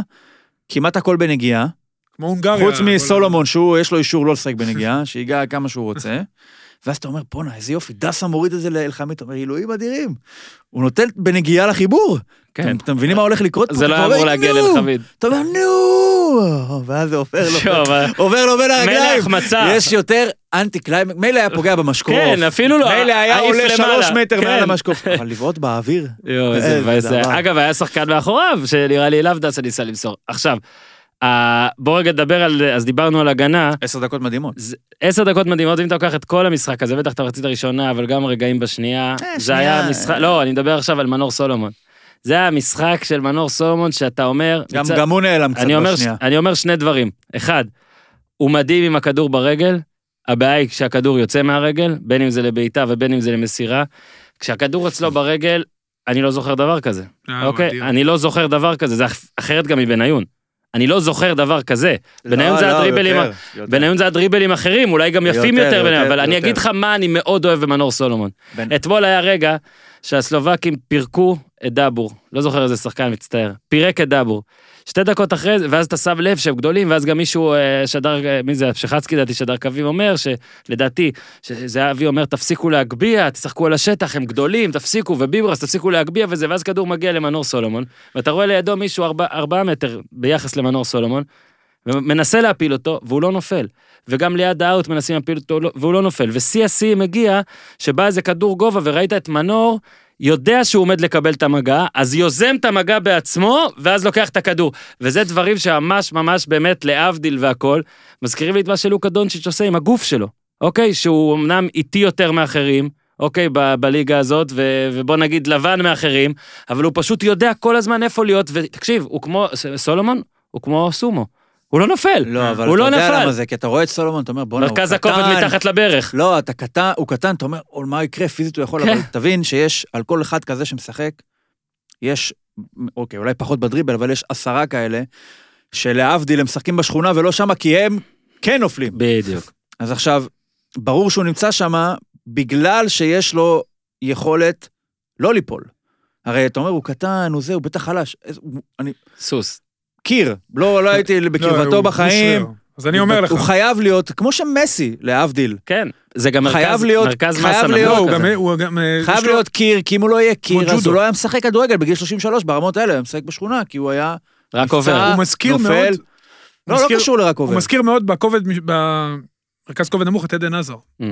C: כמעט הכל בנגיעה.
D: כמו הונגריה.
C: חוץ
D: כל
C: מסולומון, שהוא, יש לו אישור לא לשחק
A: (laughs)
C: בנגיעה, שיגע כמה שהוא רוצה. ואז אתה אומר, בואנה, איזה יופי, דסה מוריד את זה לאלחמיד, אתה אומר, אלוהים אדירים. הוא נותן בנגיעה לחיבור.
A: כן.
C: אתם- אתם מבינים מה הולך לקרות פה?
A: זה לא
C: אתה
A: היה
C: אומר,
A: אמור להגיע
C: "נו!" (laughs)
A: לאלחמיד.
C: אתה אומר, נו! ואז זה עובר לו.
A: שוב, אה, אבל-
C: עובר לו בין הרגליים.
A: החמצה.
C: יש יותר אנטי קליימק, מילא היה פוגע במשקוף.
A: כן, אפילו לא,
C: מילא היה
A: העיף
C: עולה
A: למעלה.
C: שלוש מטר
A: כן.
C: מעל
A: (laughs)
C: המשקוף. אבל לבעוט באוויר?
A: יואו, איזה
C: איזה
A: מבאס זה
C: דבר.
A: היה. אגב, היה שחקן מאחוריו, שנראה לי אליו דסה ניסה למסור. עכשיו, אה, בוא רגע נדבר על, אז דיברנו על הגנה.
C: עשר דקות מדהימות.
A: זה- עשר דקות מדהימות, אם אתה לוקח את כל המשחק הזה, בטח את המחצית הראשונה, אבל גם רגעים בשנייה. זה
C: שנייה.
A: היה משחק, לא, אני מדבר עכשיו על מנור סולומון. זה היה המשחק של מנור סולומון שאתה אומר...
C: גם
A: מצד-
C: גם הוא נעלם קצת
A: אני אומר,
C: בשנייה.
A: אני אומר שני דברים. אחד, הוא מדהים עם הכדור ברגל, הבעיה היא כשהכדור יוצא מהרגל, בין אם זה לבעיטה ובין אם זה למסירה. כשהכדור אצלו ברגל, אני לא זוכר דבר כזה,
D: אה,
A: אוקיי?
D: מדהים.
A: אני לא זוכר דבר כזה, זה אח- אחרת גם מבניון. אני לא זוכר דבר כזה.
C: לא,
A: בניון זה אה,
C: לא,
A: הדריבלים, ה-
C: יותר, יותר.
A: בניון זה הדריבלים אחרים, אולי גם יפים
C: יותר,
A: יותר בניון,
C: יותר,
A: אבל אני
C: יותר.
A: אגיד לך מה אני מאוד אוהב במנור סולומון.
C: בנ-
A: אתמול היה רגע שהסלובקים פירקו את דאבור, לא זוכר איזה שחקן, מצטער, פירק את דאבור. שתי דקות אחרי זה, ואז אתה שם לב שהם גדולים, ואז גם מישהו, אה, שדר, אה, מי זה, שחצקי לדעתי, שדר קווים אומר, שלדעתי, שזהבי אומר, תפסיקו להגביה, תשחקו על השטח, הם גדולים, תפסיקו, וביברס, תפסיקו להגביה וזה, ואז כדור מגיע למנור סולומון, ואתה רואה לידו מישהו ארבע- ארבעה מטר ביחס למנור סולומון, ומנסה להפיל אותו, והוא לא נופל. וגם ליד האאוט מנסים להפיל אותו, לא- והוא לא נופל. ושיא השיאים הגיע, שבא איזה כדור גובה וראית את מנור, יודע שהוא עומד לקבל את המגע, אז יוזם את המגע בעצמו, ואז לוקח את הכדור. וזה דברים שממש ממש באמת, להבדיל והכל, מזכירים לי את מה שלוקה דונצ'יץ' עושה עם הגוף שלו, אוקיי? שהוא אמנם איטי יותר מאחרים, אוקיי, ב- בליגה הזאת, ו- ובוא נגיד לבן מאחרים, אבל הוא פשוט יודע כל הזמן איפה להיות, ותקשיב, הוא כמו, ס- סולומון, הוא כמו סומו. הוא לא נופל,
C: לא, אבל
A: הוא לא
C: אתה יודע
A: נפל.
C: למה זה, כי אתה רואה את סולומון, אתה אומר, בואנה, הוא קטן.
A: מרכז הכובד מתחת לברך.
C: לא, אתה קטן, הוא קטן, אתה אומר, "אול, מה יקרה, פיזית הוא יכול,
A: כן.
C: אבל תבין שיש, על כל אחד כזה שמשחק, יש, אוקיי, אולי פחות בדריבל, אבל יש עשרה כאלה, שלהבדיל הם משחקים בשכונה ולא שמה, כי הם כן נופלים.
A: בדיוק.
C: אז עכשיו, ברור שהוא נמצא שם בגלל שיש לו יכולת לא ליפול. הרי אתה אומר, הוא קטן, הוא זה, הוא בטח חלש. איזה- הוא- אני...
A: סוס.
C: קיר, לא, לא הייתי
D: לא,
C: בקרבתו
D: הוא-
C: בחיים.
D: הוא שוער. אז אני אומר לך.
C: הוא חייב להיות, כמו שמסי, להבדיל.
A: כן. זה גם
C: חייב
A: מרכז,
C: להיות-
A: מרכז
C: חייב
A: מסה
C: להיות-
D: לא,
A: נמוך
D: הוא גם...
A: כזה.
D: הוא גם... אה, יש
C: חייב
D: לו-
C: להיות קיר, כי אם הוא לא יהיה קיר, אז
D: ג'ודו.
C: הוא לא היה משחק כדורגל בגיל 33 ברמות האלה, הוא היה משחק בשכונה, כי הוא היה...
A: רק
C: נפצע,
A: עובר.
D: הוא מזכיר
C: נופל.
D: מאוד... הוא
C: לא, לא
D: מזכיר-
C: קשור לרק
D: הוא
C: עובר.
D: מזכיר מאוד בכובד, מש- במרכז כובד נמוך את עדן עזר.
A: Mm.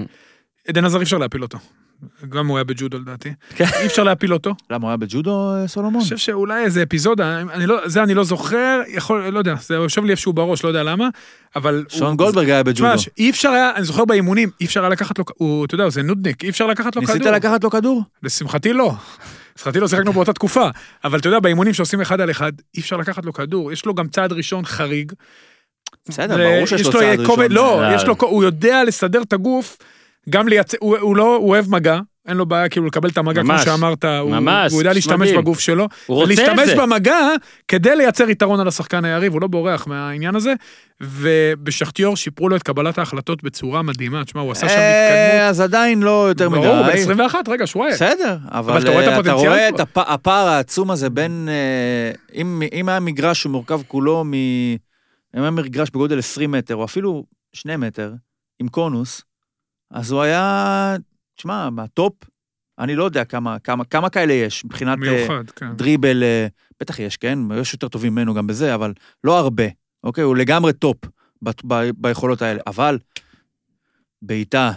D: עדן עזר אי אפשר להפיל אותו. גם הוא היה בג'ודו לדעתי.
A: כן.
D: אי אפשר
C: (laughs)
D: להפיל אותו.
C: למה, הוא היה בג'ודו, אה, סולומון?
D: אני חושב שאולי איזה אפיזודה, אני לא, זה אני לא זוכר, יכול, לא יודע, זה יושב לי איפשהו בראש, לא יודע למה, אבל... הוא-
C: שון גולדברג היה
D: תשמע,
C: בג'ודו.
D: אי אפשר היה, אני זוכר באימונים, אי אפשר היה לקחת לו, הוא, אתה יודע, זה נודניק, אי אפשר לקחת לו
C: ניסית
D: לא כדור.
C: לקחת לו כדור?
D: לשמחתי לא. לשמחתי לא, שיחקנו באותה תקופה. אבל אתה יודע, באימונים שעושים אחד על אחד, אי אפשר לקחת לו כדור. יש לו גם צעד ראשון חריג.
C: בסדר,
D: ו-
C: ברור שיש לו
D: אה,
C: צעד ראשון.
D: כובד- לא,
A: אה.
D: יש לו, כ- הוא יודע לסדר את הגוף, גם לייצא, הוא הוא לא, הוא אוהב מגע. אין לו בעיה כאילו לקבל את המגע, כמו
A: ממש.
D: שאמרת, הוא
A: ממש,
D: הוא יודע להשתמש
A: מדהים.
D: בגוף שלו.
A: הוא רוצה את
D: ולהשתמש
A: זה.
D: במגע כדי לייצר יתרון על השחקן היריב, הוא לא בורח מהעניין הזה. ובשחטיור שיפרו לו את קבלת ההחלטות בצורה מדהימה. תשמע, הוא עשה שם התקדמות.
C: אה, אז עדיין לא יותר מדי.
D: ברור, הוא בן 21, רגע, שוויה.
C: בסדר, אבל
D: כן. אתה רואה את
C: אה, אתה
D: הפוטנציאל
C: רואה
D: שלו.
C: את הפ- הפער העצום הזה בין... אה, אם אם היה מגרש שמורכב כולו מ... אם היה מגרש בגודל 20 מטר, או אפילו 2 מטר, עם קונוס, אז הוא היה... תשמע, מהטופ, אני לא יודע כמה, כמה, כמה כאלה יש מבחינת אה,
D: מיוחד, כן.
C: דריבל, אה, בטח יש, כן? יש יותר טובים ממנו גם בזה, אבל לא הרבה. אוקיי? הוא לגמרי טופ ב- ב- ביכולות האלה. אבל בעיטה,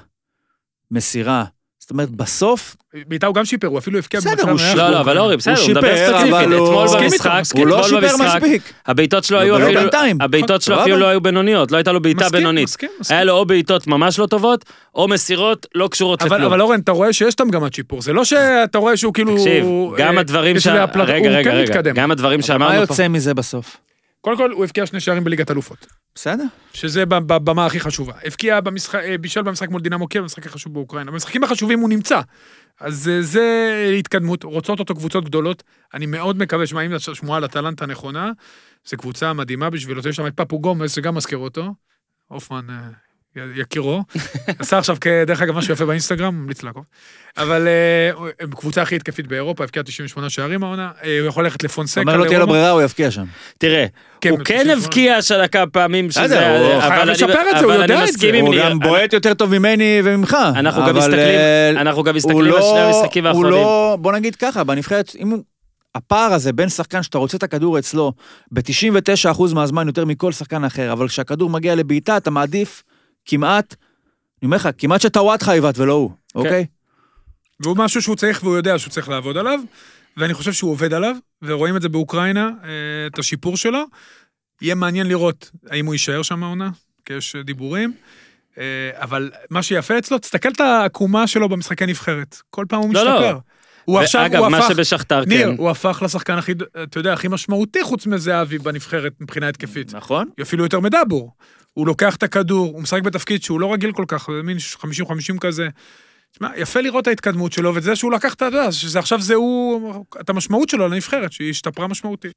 C: מסירה, זאת אומרת, בסוף
D: בעיטה הוא גם שיפר, הוא אפילו הבקיע
C: בסדר,
D: במצב
C: הוא
D: נייח.
C: שיפר.
A: לא, לא, אבל אורי, בסדר, הוא
C: שיפר,
A: מדבר ספציפית.
C: אבל הוא-
A: אתמול
C: מסכים איתך,
A: במשחק,
C: הוא לא
A: אתמול
C: שיפר
A: במשחק,
C: מספיק.
A: הבעיטות שלו
C: לא,
A: היו
C: אבל לא
A: אפילו...
C: בינתיים.
A: הבעיטות שלו
C: סבבה.
A: אפילו לא היו בינוניות, לא הייתה לו בעיטה
D: מסכים,
A: בינונית.
D: מסכים, מסכים.
A: היה לו או בעיטות ממש לא טובות, או מסירות לא קשורות
D: אבל,
A: לכלום.
D: אבל אורן, אתה רואה שיש את המגמת שיפור, זה לא שאתה רואה שהוא כאילו...
A: תקשיב, גם
D: אה,
A: הדברים
D: יש
A: ש...
D: לה פלט-
A: רגע,
D: הוא
A: רגע,
D: כן
A: רגע.
D: מתקדם.
A: גם הדברים
C: מה
A: שאמרנו פה.
C: יוצא מזה בסוף?
D: קודם כל, הוא הבקיע שני שערים בליגת אלופות,
C: בסדר.
D: שזה ב- בבמה הכי חשובה. הבקיע במשחק, אה, בישל במשחק מול דינמו קייב, במשחק החשוב באוקראינה. במשחקים החשובים הוא נמצא. אז אה, זה התקדמות, רוצות אותו קבוצות גדולות. אני מאוד מקווה, שמע, אם השמועה על אטלנטה נכונה, זו קבוצה מדהימה בשבילו. יש שם את פפו גומז, שגם מזכיר אותו. הופמן, אה,
C: (laughs)
D: י- יקירו. עשה עכשיו, כ- דרך אגב, משהו יפה באינסטגרם, ממליץ לעקוב. אבל אה, הוא- הם קבוצה הכי התקפית באירופה, הבקיעה 98 שערים העונה. אה, הוא יכול ללכת לפונסקה.
C: אומר, לא תהיה לו
D: לרומא.
C: ברירה, הוא יבקיע שם.
A: תראה,
D: כן,
A: הוא כן
D: פשוט-
A: הבקיע שלקה פעמים שזה...
C: בסדר, הוא
A: אבל
D: חייב
A: אני-
D: לשפר את זה, הוא
A: אבל
D: יודע
A: אני
D: את זה.
A: מסכים עם
C: הוא
A: ניר.
C: גם בועט יותר טוב ממני וממך.
A: אנחנו גם
C: אבל,
A: מסתכלים-
C: אה,
A: אנחנו גם
C: הוא
A: מסתכלים על
C: לא-
A: שני המשחקים האחרונים.
C: הוא לא, בוא נגיד ככה, בנבחרת, אם הוא... הפער הזה בין שחקן שאתה רוצה את הכדור אצלו, ב-99% מהזמן יותר מכל שחקן אחר, אבל כשהכדור מגיע לבעיטה, אתה מעדיף כמעט, אני אומר לך, כמעט שטוואטחה יבעט ולא הוא,
A: כן.
C: אוקיי?
D: והוא משהו שהוא צריך והוא יודע שהוא צריך לעבוד עליו, ואני חושב שהוא עובד עליו, ורואים את זה באוקראינה, אה, את השיפור שלו. יהיה מעניין לראות האם הוא יישאר שם העונה, כי יש אה, דיבורים. אה, אבל מה שיפה אצלו, תסתכל את העקומה שלו במשחקי נבחרת. כל פעם הוא
A: לא, לא.
D: משתפר. הוא עכשיו,
A: ואגב,
D: הוא
A: מה
D: הפך...
A: שבשכתר,
D: ניר,
A: כן.
D: הוא הפך לשחקן הכי, אתה יודע, הכי משמעותי חוץ מזהבי בנבחרת מבחינה התקפית.
C: נכון.
D: אפילו יותר מדאבור. הוא לוקח את הכדור, הוא משחק בתפקיד שהוא לא רגיל כל כך, זה מין 50-50 כזה. תשמע, יפה לראות את ההתקדמות שלו, ואת זה שהוא לקח את ה... שזה עכשיו זה הוא... את המשמעות שלו לנבחרת, שהיא השתפרה משמעותית.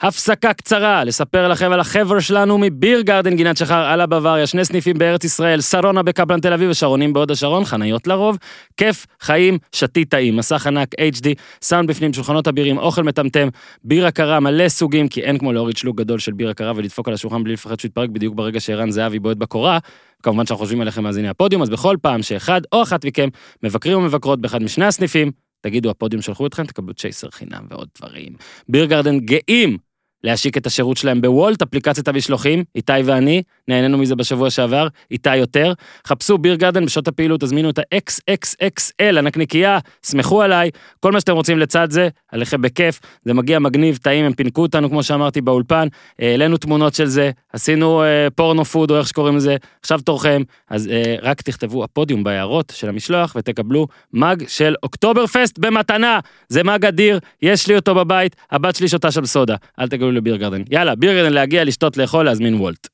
A: הפסקה קצרה, לספר לכם על החבר שלנו מביר גרדן גינת שחר על הבוואריה, שני סניפים בארץ ישראל, שרונה בקפלן תל אביב ושרונים בהוד השרון, חניות לרוב, כיף, חיים, שתית טעים, מסך ענק, HD, סאונד בפנים, שולחנות הבירים, אוכל מטמטם, בירה קרה, מלא סוגים, כי אין כמו להוריד שלוק גדול של בירה קרה ולדפוק על השולחן בלי לפחד שהוא יתפרק בדיוק ברגע שערן זהבי בועט בקורה. כמובן שאנחנו חושבים עליכם מאזיני הפודיום, אז בכל פעם שאחד או אחת מכם מבקרים ומבקרות באחד משני הסניפים, תגידו הפודיום שלחו אתכם, תקבלו צ'ייסר חינם ועוד דברים. ביר גרדן גאים להשיק את השירות שלהם בוולט, אפליקציית המשלוחים, איתי ואני, נהנינו מזה בשבוע שעבר, איתי יותר. חפשו ביר גרדן בשעות הפעילות, תזמינו את ה-XXXL, הנקניקייה, סמכו עליי, כל מה שאתם רוצים לצד זה, עליכם בכיף, זה מגיע מגניב, טעים, הם פינקו אותנו, כמו שאמרתי, באולפן, אה, העלינו תמונות של זה, עשינו אה, פורנו פוד, או איך שקוראים לזה, עכשיו תורכם, אז אה, רק תכתבו הפודיום בהערות של המשלוח, ותקבלו מאג של אוקטובר פסט במתנה, זה מאג אדיר, יש לי אותו בבית, הבת שלי שותה שם סודה, אל תגיעו לביר גרדן. יאללה, ביר גרדן להגיע, לשתות, לאכול, להזמין וולט.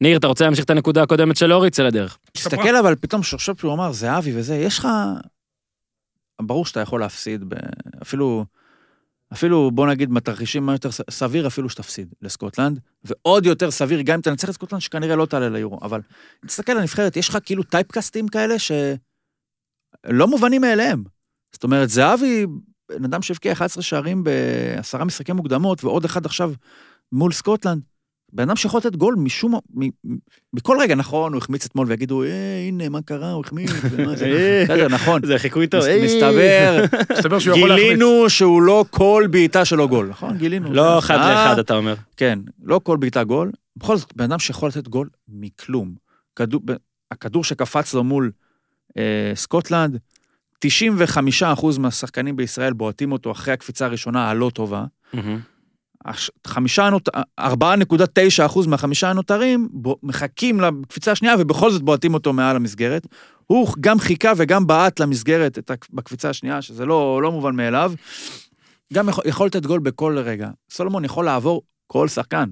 A: ניר, אתה רוצה להמשיך את הנקודה הקודמת של אורי? צא לדרך.
C: תסתכל אבל פתאום, שעכשיו שהוא אמר, זה אבי וזה, יש לך... ברור שאתה יכול להפסיד, ב... אפילו, אפילו בוא נגיד בתרחישים מה יותר ס- סביר, אפילו שתפסיד לסקוטלנד, ועוד יותר סביר, גם אם אתה נצח את סקוטלנד, שכנראה לא תעלה ליורו, אבל תסתכל על הנבחרת, יש לך כאילו טייפקאסטים כאלה שלא לא מובנים מאליהם. זאת אומרת, זהבי, בן אדם שהבקיע 11 שערים בעשרה משחקי מוקדמות, ועוד אחד עכשיו מול סקוטלנד. בן אדם שיכול לתת גול משום, מ- מ- בכל רגע, נכון, הוא החמיץ אתמול ויגידו, אה, הנה, מה קרה, הוא החמיץ,
A: (laughs)
C: ומה זה, בסדר, נכון.
A: זה אה, חיקוי
C: מס- מסתבר,
A: (laughs)
D: מסתבר שהוא יכול להחמיץ.
C: גילינו שהוא לא כל בעיטה שלו גול, נכון? גילינו.
A: לא אחד
C: אה,
A: לאחד, אתה אומר.
C: כן, לא כל בעיטה גול. בכל זאת, בן אדם שיכול לתת גול מכלום. כדור, ב- הכדור שקפץ לו מול אה, סקוטלנד, 95% מהשחקנים בישראל בועטים אותו אחרי הקפיצה הראשונה הלא טובה.
A: מהמם.
C: הש- חמישה נות... 4.9% מהחמישה הנותרים בו... מחכים לקפיצה השנייה ובכל זאת בועטים אותו מעל המסגרת. הוא גם חיכה וגם בעט למסגרת את הק- בקפיצה השנייה, שזה לא, לא מובן מאליו. גם יכול, יכול לתת גול בכל רגע. סולומון יכול לעבור כל שחקן.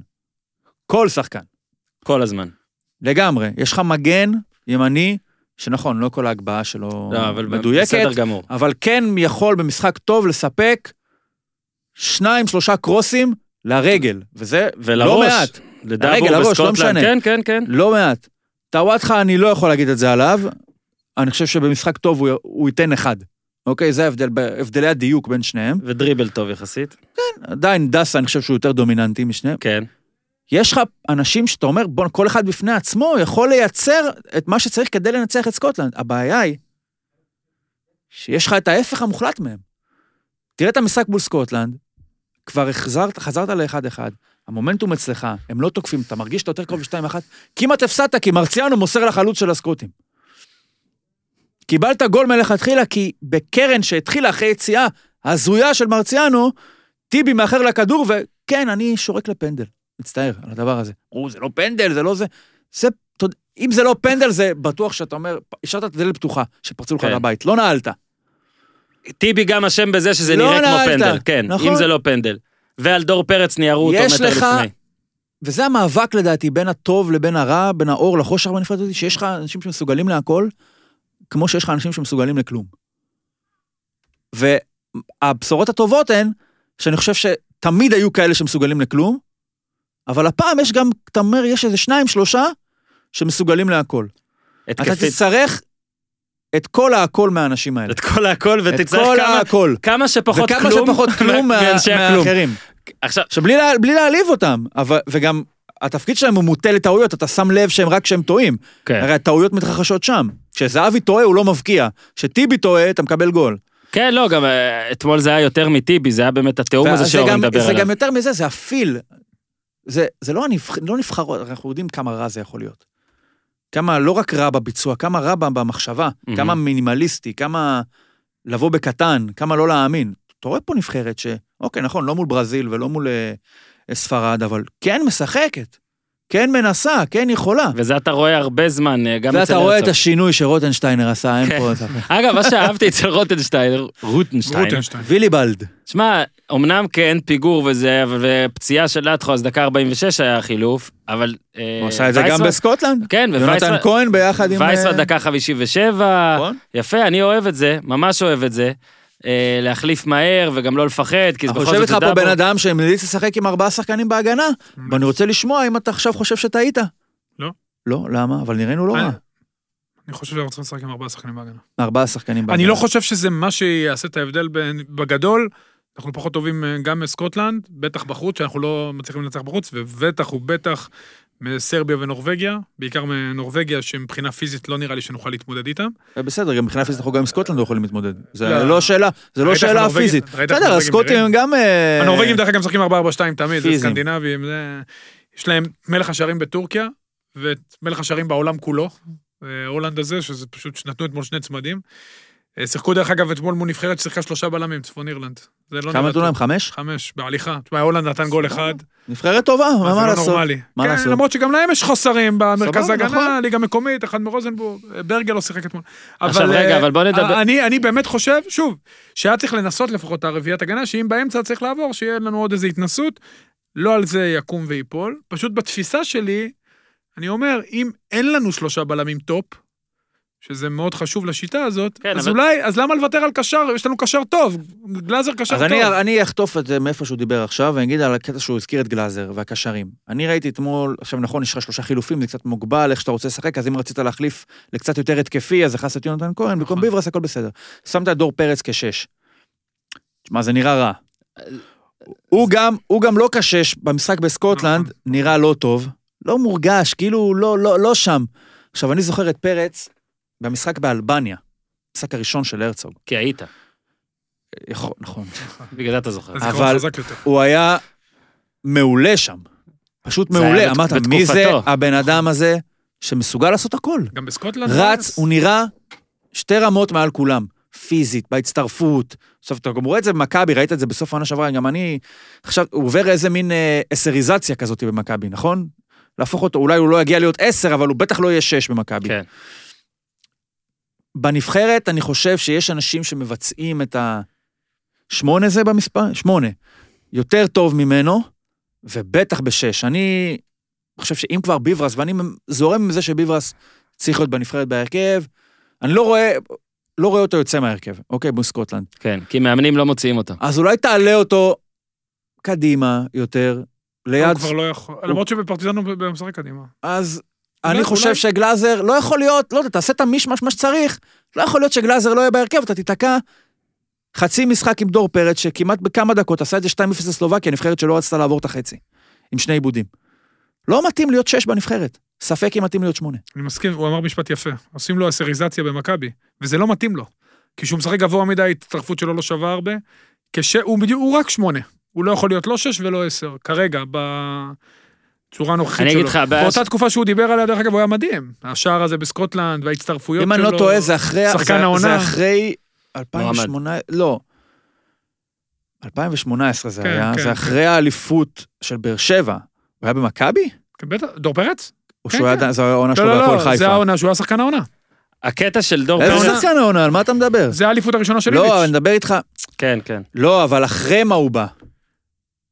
C: כל שחקן.
A: כל הזמן.
C: לגמרי. יש לך מגן ימני, שנכון, לא כל ההגבהה שלו
A: לא, אבל
C: מדויקת,
A: בסדר גמור.
C: אבל כן יכול במשחק טוב לספק שניים, שלושה קרוסים לרגל, וזה
A: ולראש,
C: לא מעט,
A: לדאבור
C: הרגל, הראש, לא
A: בסקוטלנד.
C: משנה.
A: כן, כן, כן.
C: לא מעט. טוואטחה, אני לא יכול להגיד את זה עליו, אני חושב שבמשחק טוב הוא, הוא ייתן אחד. אוקיי, זה ההבדל, ב- הבדלי הדיוק בין שניהם.
A: ודריבל טוב יחסית.
C: עדיין דסה, אני חושב שהוא יותר דומיננטי משניהם.
A: כן.
C: יש לך אנשים שאתה אומר, בוא, כל אחד בפני עצמו יכול לייצר את מה שצריך כדי לנצח את סקוטלנד. הבעיה היא שיש לך את ההפך המוחלט מהם. תראה את המשחק מול סקוטלנד, כבר החזרת, חזרת לאחד-אחד, המומנטום אצלך, הם לא תוקפים, אתה מרגיש שאתה יותר קרוב לשתיים אחת, כמעט הפסדת, כי מרציאנו מוסר לחלוץ של הסקוטים. קיבלת גול מלכתחילה, כי בקרן שהתחילה אחרי יציאה הזויה של מרציאנו, טיבי מאחר לכדור, וכן, אני שורק לפנדל. מצטער על הדבר הזה. אמרו, זה לא פנדל, זה לא זה. זה, אתה יודע, אם זה לא פנדל, זה בטוח שאתה אומר, השארת את הדלת פתוחה, שפרצו לך
A: כן.
C: לבית. לא נעלת.
A: טיבי גם אשם בזה שזה
C: לא
A: נראה כמו
C: נעלת.
A: פנדל. כן,
C: נכון.
A: אם זה לא פנדל. ועל דור פרץ ניירו אותו
C: יש
A: מטר
C: לך-
A: לפני.
C: וזה המאבק לדעתי בין הטוב לבין הרע, בין האור לחושך בנפרד הזאת, שיש לך אנשים שמסוגלים להכל, כמו שיש לך אנשים שמסוגלים לכלום. והבשורות הטובות הן, שאני חושב שתמיד היו כאלה שמסוגלים לכלום, אבל הפעם יש גם, אתה אומר, יש איזה שניים, שלושה, שמסוגלים להכל. אתה
A: התקפית.
C: תצטרך את כל ההכל מהאנשים האלה.
A: את כל הכל
C: את
A: ותצטרך
C: כל
A: כמה-
C: ההכל.
A: כמה שפחות
C: וכמה
A: כלום. (laughs)
C: שפחות כלום מה-
A: מאנשי הכלום.
C: מהאחרים.
A: עכשיו,
C: עכשיו, בלי, לה, בלי להעליב אותם, אבל, וגם התפקיד שלהם הוא מוטה לטעויות, אתה שם לב שהם רק כשהם טועים.
A: כן.
C: הרי הטעויות מתרחשות שם. כשזהבי טועה הוא לא מבקיע, כשטיבי טועה אתה מקבל גול.
A: כן, לא, גם אה, אתמול זה היה יותר מטיבי, זה היה באמת התיאום
C: וזה
A: הזה שאורי
C: גם-
A: מדבר
C: זה
A: עליו.
C: גם יותר מזה, זה הפיל. זה, זה לא, הנבח... לא נבחרות, אנחנו יודעים כמה רע זה יכול להיות. כמה, לא רק רע בביצוע, כמה רע במחשבה,
A: מהמם.
C: כמה מינימליסטי, כמה לבוא בקטן, כמה לא להאמין. אתה רואה פה נבחרת ש... אוקיי, נכון, לא מול ברזיל ולא מול אה, ספרד, אבל כן משחקת, כן מנסה, כן יכולה.
A: וזה אתה רואה הרבה זמן, אה, גם אצל
C: ואתה רואה את
A: הרצוג. כן.
C: השינוי שרוטנשטיינר עשה, אין פה...
A: אגב,
C: (laughs)
A: מה שאהבתי אצל רוטנשטיין, רוטנשטיין,
D: רוטנשטיין.
C: ויליבלד.
A: שמע, אמנם כן, פיגור וזה, ו- ופציעה של לטחו, אז דקה 46 היה החילוף, אבל... אה,
C: הוא עשה את זה גם
A: וייסמן-
C: בסקוטלנד.
A: כן,
C: יונתן
A: ווייסמן...
C: כהן ביחד עם...
A: וייסמן
C: אה,
A: דקה 57,
C: נכון.
A: יפה, אני אוהב את זה, ממש אוהב את זה. אה, להחליף מהר וגם לא לפחד, כי זה
C: אבל
A: בכל
C: יושב
A: זאת
C: איתך פה
A: דאבור.
C: בן אדם שמליץ לשחק עם ארבעה שחקנים בהגנה, ואני רוצה לשמוע אם אתה עכשיו חושב שטעית.
D: לא.
C: לא, למה? אבל נראינו לא
D: אני-
C: רע.
D: אני חושב שאנחנו צריכים לשחק עם ארבעה שחקנים בהגנה.
C: ארבעה שחקנים בהגנה.
D: אני לא חושב שזה מה שיעשה את ההבדל בין- בגדול. אנחנו פחות טובים אה, גם מסקוטלנד, בטח בחוץ, שאנחנו לא מצליחים לנצח בחוץ, ובטח ובטח מסרביה ונורבגיה, בעיקר מנורבגיה, שמבחינה פיזית לא נראה לי שנוכל להתמודד איתם.
C: אה, בסדר, גם מבחינה פיזית אנחנו גם עם סקוטלנד לא יכולים להתמודד.
D: לא.
C: זה לא שאלה, זה לא
D: ראית איך
C: שאלה
D: הנורבגים-
C: פיזית.
D: ראית איך
C: בסדר,
D: הנורבגים
C: הסקוטים
D: נראים?
C: הם גם... אה,
D: הנורבגים דרך אגב משחקים 4-4-2 תמיד, זה
C: פיזיים.
D: סקנדינבים, זה... יש להם את מלך השערים בטורקיה, ואת מלך השערים בעולם כולו, אה, הולנד הזה, שזה פשוט, נתנו אתמול שני צמדים. אה, שיחקו דרך אגב אתמול מול נבחרת ששיחקה שלושה בלמים, צפון אירלנד. זה לא
C: כמה
D: נראה
C: נתנו
D: טוב.
C: להם? חמש?
D: חמש, בהליכה. תשמע, הולנד נתן גול אחד,
C: נבחרת טובה,
D: אז
C: מה
D: זה
C: מה
D: לא
C: לעשות?
D: נורמלי.
C: מה
D: כן,
C: לעשות?
D: למרות שגם להם יש חוסרים במרכז
C: סבבה,
D: ההגנה,
C: נכון.
D: ליגה מקומית, אחד מרוזנבורג, ברגל לא שיחק אתמול.
A: עכשיו, רגע,
D: אה,
A: אבל בוא נדבר-
D: אני אני באמת חושב, שוב, שהיה צריך לנסות לפחות את הרביעיית הגנה, שאם באמצע צריך לעבור, שיהיה לנו עוד איזו התנסות, לא על זה יקום וייפול. פשוט בתפיסה שלי, אני אומר, אם אין לנו שלושה בלמים טופ, שזה מאוד חשוב לשיטה הזאת,
A: כן,
D: אז
A: אבל-
D: אולי, אז למה לוותר על קשר? יש לנו קשר טוב, גלאזר קשר
C: אז
D: טוב.
C: אני, אני אחטוף את זה מאיפה שהוא דיבר עכשיו, ואני אגיד על הקטע שהוא הזכיר את גלאזר והקשרים. אני ראיתי אתמול, עכשיו נכון, יש לך שלושה חילופים, זה קצת מוגבל, איך שאתה רוצה לשחק, אז אם רצית להחליף לקצת יותר התקפי, אז הכנסת יונתן כהן, במקום ביברס הכל בסדר. שמת את דור פרץ כשש. תשמע, זה נראה רע. הוא גם, הוא גם לא כשש, במשחק בסקוטלנד, נראה לא טוב, לא מורגש, כאילו הוא לא, לא, לא שם. עכשיו, אני זוכר את פרץ במשחק באלבניה, המשחק הראשון של הרצוג.
A: כי היית,
C: יכול- נכון.
A: בגלל זה אתה זוכר.
D: אז זיכרון
C: אבל-
D: חזק יותר.
C: הוא היה מעולה שם. פשוט
A: זה היה
C: מעולה.
A: בת-
C: אמרת, מי זה
A: בתקופתו."
C: הבן אדם הזה שמסוגל לעשות הכל?
D: גם בסקוטלנד?
C: רץ, הוא נראה שתי רמות מעל כולם. פיזית, בהצטרפות. בסוף אתה גם רואה את זה במכבי, ראית את זה בסוף העונה שעברה, גם אני... עכשיו, הוא עובר איזה מין אה, אסריזציה כזאת במכבי, נכון? להפוך אותו, אולי הוא לא יגיע להיות עשר, אבל הוא בטח לא יהיה שש במכבי.
A: כן.
C: בנבחרת אני חושב שיש אנשים שמבצעים את השמונה זה במספר? שמונה. יותר טוב ממנו, ובטח בשש. אני חושב שאם כבר ביברס, ואני זורם עם זה שביברס צריך להיות בנבחרת בהרכב, אני לא רואה, לא רואה אותו יוצא מההרכב, אוקיי, בסקוטלנד.
A: כן, כי מאמנים לא מוציאים אותם.
C: אז אולי תעלה אותו קדימה יותר,
D: הוא
C: ליד...
D: כבר לא יכול, למרות שבפרטיזן הוא משחק קדימה.
C: אז
D: אולי-
C: אני חושב
D: אולי-
C: שגלאזר לא יכול להיות, לא יודע, תעשה את המישמש מה שצריך. לא יכול להיות שגלאזר לא יהיה בהרכב, אתה תיתקע חצי משחק עם דור פרץ, שכמעט בכמה דקות עשה את זה 2-0 לסלובקיה, נבחרת שלא רצתה לעבור את החצי, עם שני עיבודים. לא מתאים להיות שש בנבחרת, ספק אם מתאים להיות שמונה.
D: אני מסכים, הוא אמר משפט יפה. עושים לו אסריזציה במכבי, וזה לא מתאים לו. כי כשהוא משחק גבוה מדי, ההצטרפות שלו לא שווה הרבה. כש... הוא, בדיוק, הוא רק שמונה. הוא לא יכול להיות לא שש ולא עשר, כרגע, בצורה הנוכחית שלו.
A: אני אגיד לך, הבעיה
D: באותה
A: ש-
D: תקופה שהוא דיבר עליה, דרך אגב, הוא היה מדהים. השער הזה בסקוטלנד, וההצטרפויות
C: אם
D: שלו.
C: אני לא טועה, זה אחרי...
D: שחקן
C: זה- זה
D: העונה.
C: אחרי... 2018... לא. 2018 זה
D: כן,
C: היה,
D: כן,
C: זה
D: כן.
C: אחרי האליפות של באר שבע. הוא היה במכבי?
D: כן, בטח, דור פרץ?
C: או
D: כן,
C: שהוא היה...
D: כן.
C: זו היה העונה
D: לא,
C: שלו
D: לא,
C: בהפועל
D: לא,
C: חיפה.
D: זה העונה שהוא היה שחקן העונה.
A: הקטע של דור
D: אוקיי.
C: איזה
A: פרץ...
C: שחקן העונה? על מה אתה מדבר?
D: זה האליפות הראשונה של
C: לא, אני
D: איביץ'.
C: מדבר איתך...
A: כן, כן.
C: לא, אבל אחרי מה הוא בא.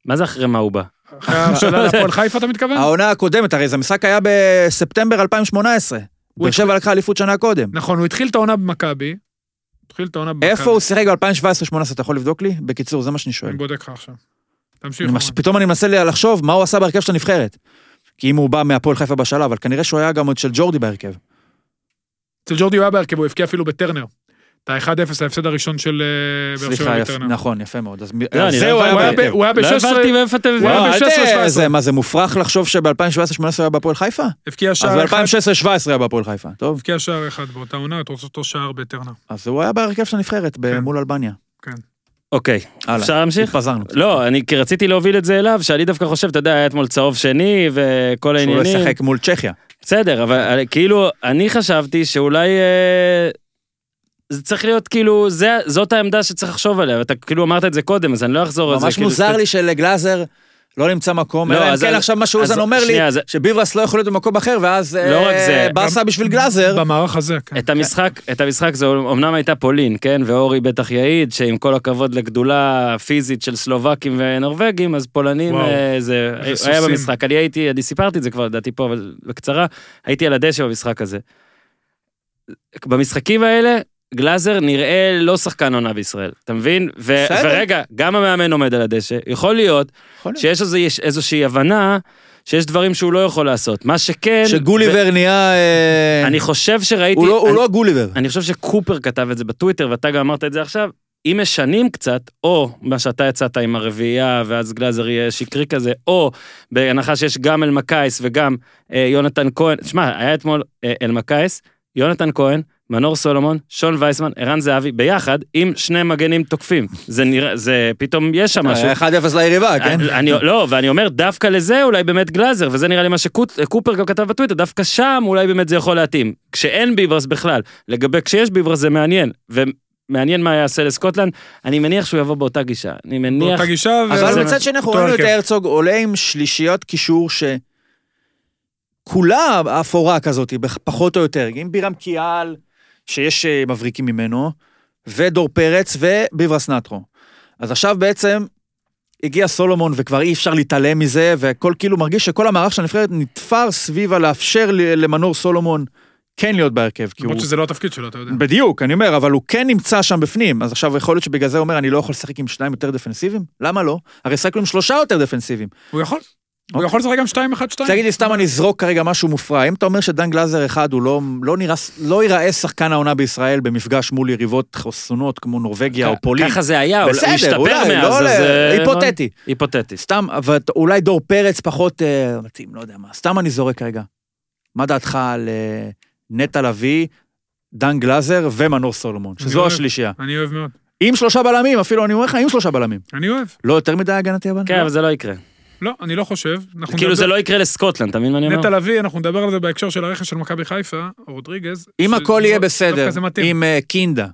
A: מה זה אחרי מה הוא בא?
D: אחרי ההבשלה להפועל חיפה, אתה מתכוון?
C: העונה הקודמת, הרי זה משחק היה בספטמבר 2018.
D: הוא
C: באר שבע לקחה אליפות שנה קודם.
D: נכון, הוא התחיל את העונה במכבי. התחיל את העונה במכבי.
C: איפה הוא שיחק ב-2017-2018, אתה יכול לבדוק לי? בקיצור, זה מה שאני שואל.
D: לא. אני בודק לך עכשיו. תמשיך.
C: אני
D: אורן.
C: מש- פתאום אני מנסה ל- לחשוב מה הוא עשה בהרכב של הנבחרת. כי אם הוא בא מהפועל חיפה בשלב, אבל כנראה שהוא היה גם עוד של ג'ורדי בהרכב.
D: אצל ג'ורדי הוא היה בהרכב, הוא הבקיע אפילו בטרנר. את ה-1-0, ההפסד הראשון של אה, באר שבע
C: סליחה, יפ-
D: בטרנר.
C: נכון, יפה מאוד. אז מ-
A: לא,
C: אז
A: אני
C: זה הוא
A: לא
C: היה
A: הבנתי.
D: ב-
C: בהרכב.
D: הוא היה
A: לא
D: ב-16,
A: הבנתי מאיפה אתה
D: הוא
A: מביא.
D: היה
C: לא, אל
D: ב- 16,
C: תה-
D: 17.
C: זה- מה, זה מופרך לחשוב שב-2017-2018 הוא היה בהפועל חיפה?
D: הבקיע
C: אז
D: שער אחד.
C: ב-2016-2017 היה בהפועל חיפה, טוב.
D: הבקיע שער אחד באותה עונה, אתה רוצה אותו שער בטרנר.
C: אז הוא היה בהרכב של הנבחרת ב-
D: כן.
C: מול אלבניה.
A: אוקיי,
C: הלאה.
A: אפשר להמשיך?
C: התפזרנו.
A: לא, אני כי רציתי להוביל את זה אליו, שאני דווקא חושב, אתה יודע, היה אתמול צהוב שני וכל
C: שהוא
A: העניינים.
C: לא ישחק מול צ'כיה.
A: בסדר, אבל אה, כאילו, אני חשבתי שאולי... אה, זה צריך להיות כאילו, זה, זאת העמדה שצריך לחשוב עליה, ואתה כאילו אמרת את זה קודם, אז אני לא אחזור על זה.
C: ממש
A: כאילו,
C: מוזר
A: זה-
C: לי שלגלאזר לא נמצא מקום,
A: לא,
C: אלא אם
A: אז-
C: כן עכשיו מה שאוזן
A: אז-
C: אומר לי,
A: שנייה, אז-
C: שביברס לא יכול להיות במקום אחר, ואז
A: לא
C: אה,
A: רק זה,
C: באסה בשביל גלאזר.
D: במערך הזה, כן.
A: את המשחק, את המשחק זה אמנם הייתה פולין, כן, ואורי בטח יעיד, שעם כל הכבוד לגדולה פיזית של סלובקים ונורבגים, אז פולנים
D: וואו,
A: אה, זה
D: איזה
A: היה
D: סוסים.
A: במשחק. אני הייתי, אני סיפרתי את זה כבר לדעתי פה, אבל בקצרה, הייתי על הדשא במשחק הזה. במשחקים האלה, גלאזר נראה לא שחקן עונה בישראל, אתה מבין? ו-
C: בסדר.
A: ורגע, גם המאמן עומד על הדשא, יכול להיות
C: יכול להיות.
A: שיש איזה- יש איזושהי הבנה שיש דברים שהוא לא יכול לעשות. מה שכן...
C: שגוליבר נהיה... אה,
A: אני חושב שראיתי...
C: הוא לא- הוא
A: אני-
C: לא גוליבר.
A: אני חושב שקופר כתב את זה בטוויטר, ואתה גם אמרת את זה עכשיו, אם משנים קצת, או מה שאתה יצאת עם הרביעייה, ואז גלאזר יהיה שקרי כזה, או בהנחה שיש גם אלמקייס וגם אה, יונתן כהן, שמע, היה אתמול אה, אלמקייס, יונתן כהן, מנור סולומון, שון וייסמן, ערן זהבי, ביחד עם שני מגנים תוקפים. זה נראה, זה פתאום יש
C: אה,
A: שם משהו.
E: היה 1-0 ליריבה, כן?
A: אני- אני, לא, ואני אומר, דווקא לזה אולי באמת גלאזר, וזה נראה לי מה שקופר גם כתב בטוויטר, דווקא שם אולי באמת זה יכול להתאים. כשאין ביברס בכלל, לגבי כשיש ביברס זה מעניין, ומעניין מה יעשה לסקוטלנד, אני מניח שהוא יבוא באותה גישה. אני מניח...
D: באותה גישה, ו-
A: זה
C: אבל
A: מה-
C: מצד שני אנחנו
D: אותו
C: ראינו את
D: הרכב.
C: הרצוג עולה עם שלישיית קישור ש... כולה אפורה כזאת, בח- פחות או יותר. עם בירם קיאל, שיש אה, מבריקים ממנו, ודור פרץ וביברס נטרו. אז עכשיו בעצם הגיע סולומון וכבר אי אפשר להתעלם מזה, והכל כאילו מרגיש שכל המערך של הנבחרת נתפר סביב הלאפשר ל- למנור סולומון כן להיות בהרכב. כי הוא...
D: למרות שזה לא התפקיד שלו, אתה יודע.
C: בדיוק, אני אומר, אבל הוא כן נמצא שם בפנים. אז עכשיו יכול להיות שבגלל זה הוא אומר, אני לא יכול לשחק עם שניים יותר דפנסיביים? למה לא? הרי שחקנו עם שלושה יותר דפנסיביים.
D: הוא יכול. הוא יכול לשחק גם 2-1-2.
C: אוקיי. תגיד לי, סתם אני אזרוק כרגע משהו מופרע. אם אתה אומר שדן גלאזר אחד הוא לא, לא, נראה, לא ייראה שחקן העונה בישראל במפגש מול יריבות חסונות כמו נורבגיה או פולין.
A: ככה זה היה, הוא
C: בסדר,
A: השתפר
C: אולי,
A: מאז,
C: לא
A: אז...
C: עולה,
A: אה,
C: היפותטי.
A: לא- היפותטי.
C: סתם, אבל אולי דור פרץ פחות אה, מתאים, לא יודע מה. סתם אני זורק כרגע. מה דעתך על אה, נטע לביא, דן גלאזר ומנור סולומון,
D: אני
C: שזו
D: אוהב.
C: השלישייה.
D: אני אוהב מאוד.
C: עם שלושה בלמים, אפילו אני אומר לך, עם שלושה בלמים.
D: אני אוהב.
C: לא יותר מדי הגנתי אבל?
A: כן, אבל זה לא יקרה.
D: לא, אני לא חושב. אנחנו
A: כאילו
D: נדבר-
A: זה לא יקרה לסקוטלנד, אתה מבין מה אני אומר?
D: נטע לביא, אנחנו נדבר על זה בהקשר של הרכש של מכבי חיפה, או רודריגז.
C: אם
D: ש-
C: הכל יהיה
D: דווקא
C: בסדר,
D: זה מתאים.
C: עם אה, קינדה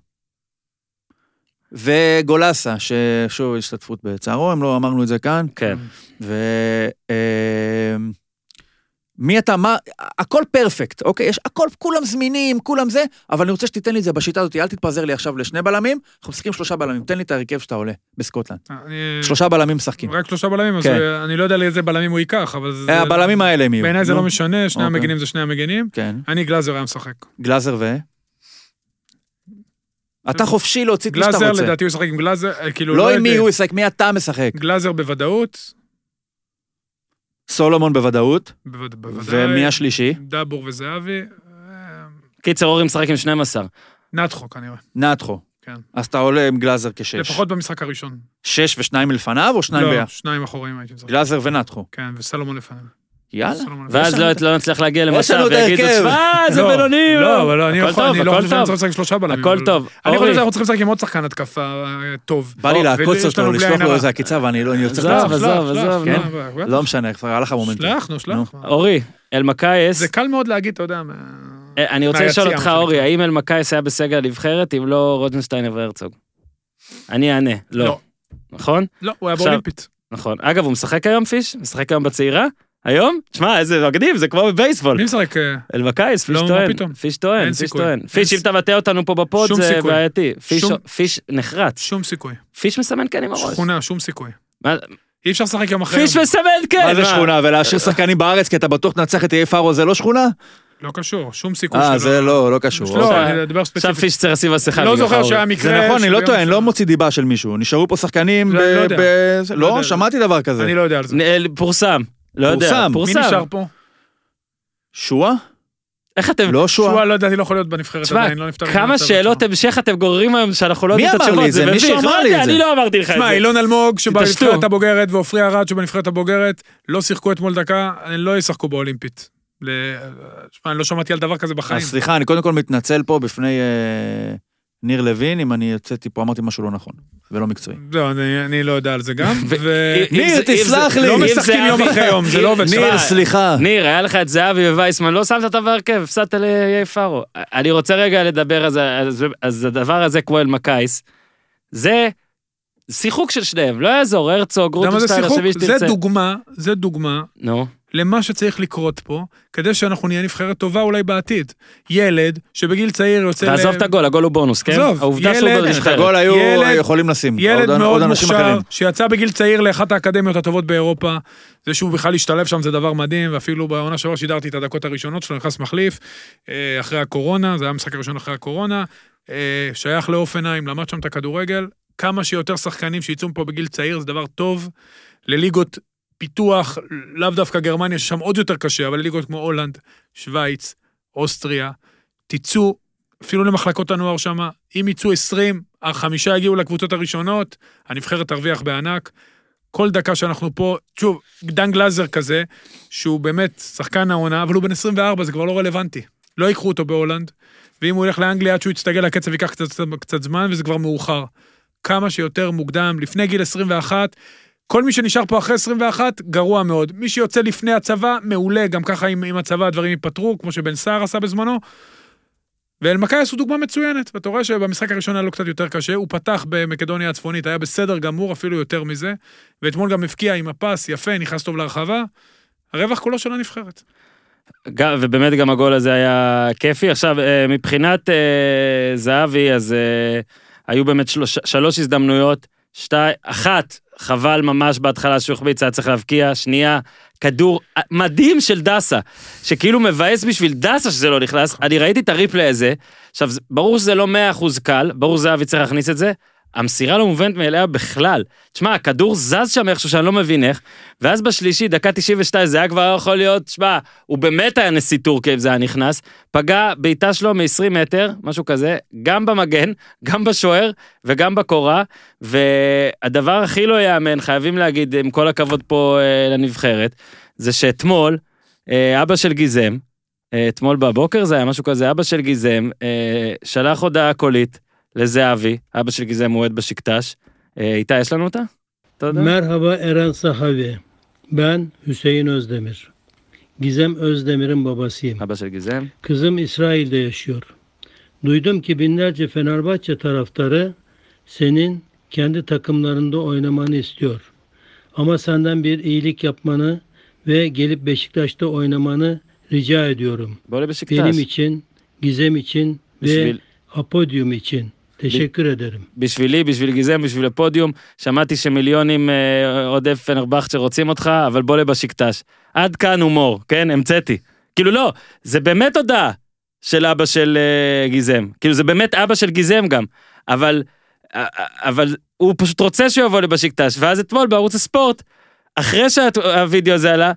C: וגולסה, ששוב השתתפות בצערו, אם לא אמרנו את זה כאן,
A: כן.
C: ו... אה, מי אתה, מה, הכל פרפקט, אוקיי? יש הכל, כולם זמינים, כולם זה, אבל אני רוצה שתיתן לי את זה בשיטה הזאת, אל תתפזר לי עכשיו לשני בלמים, אנחנו משחקים שלושה בלמים, תן לי את ההרכב שאתה עולה, בסקוטלנד.
D: אני-
C: שלושה בלמים משחקים.
D: רק שלושה בלמים, אז
C: כן.
D: אה, אני לא יודע לאיזה בלמים הוא ייקח, אבל זה...
C: אה, הבלמים האלה הם יהיו.
D: בעיניי זה
C: נו.
D: לא משנה, שני
C: אוקיי.
D: המגנים זה שני המגנים.
C: כן.
D: אני גלאזר היה משחק.
C: גלאזר ו... אתה חופשי להוציא את מי שאתה
D: גלאזר
C: רוצה.
D: לדעתי הוא ישחק עם גלאזר, אה, כאילו...
C: לא עם
D: יודע.
C: מי הוא ישחק, מי אתה משחק.
D: גלאזר בוודאות,
C: סולומון בוודאות,
D: בווד- בוודאי.
C: ומי השלישי?
D: דבור וזהבי. אה,
A: קיצר, אורי משחק עם 12.
D: נתחו כנראה,
C: נטחו.
D: כן.
C: אז אתה עולה עם גלאזר כשש.
D: לפחות במשחק הראשון.
C: שש ושניים מלפניו או שניים
D: לא,
C: ביחד?
D: שניים אחוריים הייתי משחק.
C: גלאזר ונטחו.
D: כן, וסלומון לפניו.
C: יאללה.
D: סלומון לפניו.
A: ואז לא- לא נצליח להגיע למצב,
C: לנו את
A: ויגידו,
C: ההרכב.
A: שמע, זה
D: לא,
A: בינוני,
D: לא, אבל לא, אני
A: הכל
D: יכול-
A: טוב,
D: אני לא
A: הכל
D: חושב שאני
A: טוב.
D: צריך לשחק שלושה בלמים.
A: הכל
D: אבל-
A: טוב.
D: אני חושב
A: אורי.
D: שאנחנו צריכים לשחק עם עוד שחקן התקפה אה, טוב.
C: בא לי
D: או,
C: לעקוץ
D: ויש
C: אותו,
D: לנו בלי
C: לשלוח
D: עין
C: לו
D: הרע.
C: איזה עקיצה ואני לא אני יוצא
A: עזוב,
C: לעצור.
A: עזוב, עזוב,
D: כן.
C: לא משנה, כבר הלך המומנט.
D: שלח, נו, שלח.
A: אה, אורי, אלמקייס,
D: זה קל מאוד להגיד, אתה יודע, מה-
A: אה, אני רוצה
D: מהיציע,
A: לשאול
D: מה
A: אותך,
D: שנקרא.
A: אורי, האם אלמקייס היה בסגל הנבחרת, אם לא רוזנשטיינר והרצוג? אני אענה, לא.
D: לא.
A: נכון?
D: לא, הוא היה
A: עכשיו-
D: באולימפית.
A: נכון. אגב, הוא משחק היום, פיש? משחק היום בצעירה? היום? תשמע, איזה מגניב, זה כמו בבייסבול.
D: מי משחק? אה,
A: אלמקייס, פיש
D: לא, מה
A: טוען.
D: פתאום?
A: פיש טוען,
D: אין
A: פיש
D: סיכוי.
A: טוען.
D: אין
A: פיש, אם
D: ס-
A: אתה מטעה אותנו פה בפוד,
D: שום
A: זה
D: סיכוי.
A: בעייתי. פיש-
D: שום-
A: פיש נחרץ.
D: שום סיכוי.
A: פיש מסמן כן עם הראש.
D: שכונה, שום סיכוי.
A: מה-
D: אי אפשר לשחק יום אחרי.
A: פיש
D: יום.
A: מסמן כן!
D: לא.
C: מה זה שכונה? ולהשאיר שחקנים בארץ כי אתה בטוח תנצח את איי פארו זה לא שכונה?
D: לא קשור, שום סיכוי שלא.
C: אה, זה לא, לא קשור.
D: לא,
A: אוקיי.
D: אני אדבר
A: עכשיו
D: ספציפית.
A: פיש צריך לשים מסכה.
D: לא
A: בגללך,
D: זוכר
A: אורי.
D: שהיה מקרה...
C: זה נכון, אני לא
D: שביום
C: טועה, אני לא
D: ש-
C: מוציא דיבה של מישהו. נשארו פה שחקנים
D: לא,
C: ב-
D: לא יודע.
C: ב-
D: לא
C: לא,
D: יודע.
C: שמעתי דבר כזה.
D: אני לא יודע על זה.
A: נ- פורסם. לא יודע,
C: פורסם. מי
D: מי
A: פורסם.
D: נשאר פה?
C: שועה?
A: איך אתם...
C: לא שועה.
D: שועה, לא יודע, אני לא יכול להיות בנבחרת
A: תשמע,
D: עדיין, לא נפתר.
A: כמה
D: מהמצב
A: שאלות
D: שלו.
A: המשך אתם גוררים היום שאנחנו לא
C: מי
A: יודעים את
C: אמר לי
A: התשובות,
C: את זה? מישהו
A: מביך.
C: אמר
A: לא
C: לי
A: יודע,
C: את
A: אני
C: זה.
A: לא אמרתי לך את
D: תשמע,
A: זה.
D: אילון אלמוג,
A: תתעשתו.
D: שבנבחרת הבוגרת, ועופרי ארד, שבנבחרת הבוגרת, לא שיחקו אתמול דקה, הם לא ישחקו באולימפית. ל- תשמע, אני לא שמעתי על דבר כזה בחיים.
C: אז סליחה, אני קודם כל מתנצל פה בפני אה, ניר לוין, אם אני יוצאתי פה, אמרתי משהו לא נכון, ולא מקצועי.
D: לא, אני- אני לא יודע על זה גם.
A: ו-
D: ו-
A: אם- אם
C: ניר,
A: זה- אם
C: תסלח
A: זה-
C: לי.
A: אם
C: לא
A: זה
D: משחקים יום
A: אבי-
D: אחרי יום, זה לא עובד.
A: אם-
C: ניר,
A: תשמע,
C: אה, סליחה.
A: ניר, היה לך את זהבי ווייסמן, לא שמת אותם בהרכב, הפסדת ליאי פארו. אני רוצה רגע לדבר, אז- אז- אז הדבר הזה כמו אלמקייס, זה שיחוק של שניהם, לא יעזור, הרצוג,
D: אתה יודע מה זה
A: רוטנשטיין,
D: שיחוק?
A: השני שתרצה.
D: זה דוגמה, זה דוגמה
A: נו,
D: למה שצריך לקרות פה, כדי שאנחנו נהיה נבחרת טובה אולי בעתיד. ילד שבגיל צעיר יוצא... ל-
A: תעזוב את הגול, הגול הוא בונוס, כן?
D: אה, עזוב,
A: העובדה שהוא
D: ילד-
C: את
A: בנבחרת.
C: הגול היו
D: ילד-
C: יכולים לשים.
D: ילד
C: עוד- עוד
D: מאוד
C: אנשים
D: מוכשר,
C: אחרים.
D: שיצא בגיל צעיר לאחת האקדמיות הטובות באירופה. זה שהוא בכלל השתלב שם זה דבר מדהים, ואפילו בעונה שעברה שידרתי את הדקות הראשונות שלו, נכנס מחליף, אה, אחרי הקורונה, זה היה המשחק הראשון אחרי הקורונה, אה, שייך לאופנהיים, למד שם את הכדורגל. כמה שיותר שחקנים שיצאו מפה בגיל צעיר זה דבר טוב. לליגות פיתוח, לאו דווקא גרמניה, ששם עוד יותר קשה, אבל לליגות כמו הולנד, שווייץ, אוסטריה, תצאו אפילו למחלקות הנוער שמה. אם יצאו 20, החמישה יגיעו לקבוצות הראשונות, הנבחרת תרוויח בענק. כל דקה שאנחנו פה, שוב, דן גלאזר כזה, שהוא באמת שחקן העונה, אבל הוא בן 24, זה כבר לא רלוונטי. לא ייקחו אותו בהולנד, ואם הוא ילך לאנגליה עד שהוא יצטגל לקצב ייקח קצת, קצת זמן, וזה כבר מאוחר. כמה שיותר מוקדם, לפני גיל 21, כל מי שנשאר פה אחרי 21, גרוע מאוד. מי שיוצא לפני הצבא, מעולה, גם ככה עם, עם הצבא הדברים ייפתרו, כמו שבן סער עשה בזמנו. ואלמקייס הוא דוגמה מצוינת, ואתה רואה שבמשחק הראשון היה לו קצת יותר קשה, הוא פתח במקדוניה הצפונית, היה בסדר גמור, אפילו יותר מזה, ואתמול גם הבקיע עם הפס, יפה, נכנס טוב להרחבה, הרווח כולו של הנבחרת.
A: גם- ובאמת גם הגול הזה היה כיפי. עכשיו, אה, מבחינת אה, זהבי, אז אה, היו באמת שלוש, שלוש הזדמנויות, שתי, אחת, חבל ממש בהתחלה שהוא החמיץ, היה צריך להבקיע, שנייה, כדור אה, מדהים של דסה, שכאילו מבאס בשביל דסה שזה לא נכנס, אני ראיתי את הריפלי הזה, עכשיו, זה- ברור שזה לא 100% קל, ברור זהבי צריך להכניס את זה, המסירה לא מובנת מאליה בכלל. תשמע, הכדור זז שם איכשהו שאני לא מבין איך, ואז בשלישי, דקה 92, זה היה כבר יכול להיות, תשמע, הוא באמת היה נשיא טורקיה אם זה היה נכנס, פגע בעיטה שלו מ-20 מטר, משהו כזה, גם במגן, גם בשוער וגם בקורה, והדבר הכי לא ייאמן, חייבים להגיד, עם כל הכבוד פה אה, לנבחרת, זה שאתמול, אה, אבא של גיזם, אה, אתמול בבוקר זה היה משהו כזה, אבא של גיזם אה, שלח הודעה קולית לזהבי, אבא של גיזם הוא אוהד בשקטש. אה, איתי, יש לנו אותה? אתה יודע?
E: Merhaba Eren Sahavi. Ben Hüseyin Özdemir. Gizem Özdemir'in babasıyım.
A: אבא של גיזם.
E: Kızım İsrail'de yaşıyor. Duydum ki binlerce Fenerbahçe taraftarı senin kendi takımlarında oynamanı istiyor. Ama senden bir iyilik yapmanı ve gelip Beşiktaş'ta oynamanı rica ediyorum.
A: בוא לבשקטש.
E: Benim için, Gizem için ve
A: בשביל,
E: Apodyum için. Teşekkür ederim.
A: בשבילי, בשביל גיזם, בשביל הפודיום, שמעתי שמיליונים אה, עודף פנרבכצ'ה רוצים אותך, אבל בוא לבשקטש. עד כאן הומור, כן? המצאתי. כאילו לא, זה באמת הודעה של אבא של אה, גיזם. כאילו זה באמת אבא של גיזם גם, אבל, אה, אה, אבל הוא פשוט רוצה שהוא יבוא לבשקטש, ואז אתמול בערוץ הספורט, אחרי שהווידאו הזה עלה,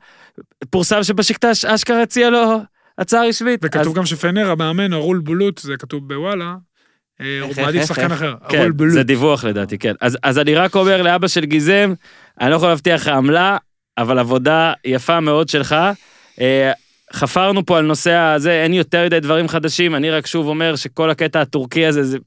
A: פורסם שבשקטש אשכרה הציע לו הצעה רשמית.
D: וכתוב
A: אז-
D: גם שפנר, המאמן, ארול בולוט, זה כתוב בוואלה, אה, הוא
A: איך,
D: מעדיף
A: (laughs) איך,
D: שחקן
A: איך?
D: אחר,
A: כן,
D: ארול בולוט.
A: זה דיווח לדעתי, כן. אז, אז אני רק אומר לאבא של גיזם, אני לא יכול להבטיח לך עמלה, אבל עבודה יפה מאוד שלך. אה, חפרנו פה על נושא הזה, אין יותר מדי דברים חדשים, אני רק שוב אומר שכל הקטע הטורקי הזה, זה...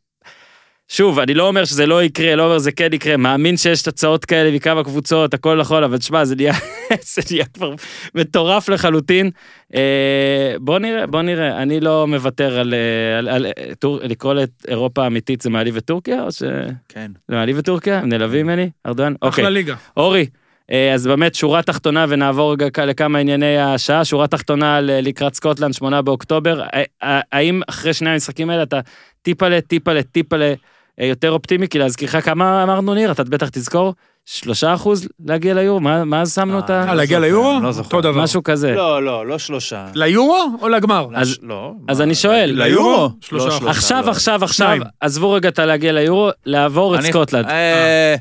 A: שוב, אני לא אומר שזה לא יקרה, לא אומר זה כן יקרה, מאמין שיש תוצאות כאלה מכמה קבוצות, הכל נכון, אבל שמע, זה נהיה, (laughs) זה נהיה כבר מטורף לחלוטין. אה, בוא נראה, בוא נראה, אני לא מוותר על, אה, על, על, אה, טור, לקרוא לאירופה אמיתית זה מעליב את טורקיה, או ש...
C: כן.
A: זה מעליב את טורקיה? נלווים ממני? ארדואן? אוקיי.
D: כן. אחלה ליגה.
A: אורי, אה, אז באמת שורה תחתונה ונעבור רגע כ- לכמה ענייני השעה. שורה תחתונה ל- לקראת סקוטלנד, 8 באוקטובר. אה, אה, האם אחרי שני המשחקים האלה אתה טיפלה, טיפלה, טיפלה אה, יותר אופטימי? כי להזכירך כמה אמרנו ניר, אתה בטח תזכור, שלושה אחוז להגיע ליורו? מה מה אז שמנו את ה...
D: אה, להגיע
C: זוכר,
D: ליורו?
C: לא זוכר.
D: אותו דבר.
A: משהו כזה.
C: לא, לא, לא שלושה.
D: ליורו או לגמר?
A: כן. אז-
C: לא.
A: אז
C: מה-
A: אני שואל,
C: ליורו?
D: שלושה.
C: לא, שלושה,
A: עכשיו,
C: לא.
A: עכשיו, עכשיו,
D: שניים.
A: עזבו רגע את הלהגיע ליורו, לעבור את
C: אני-
A: סקוטלנד.
C: אה,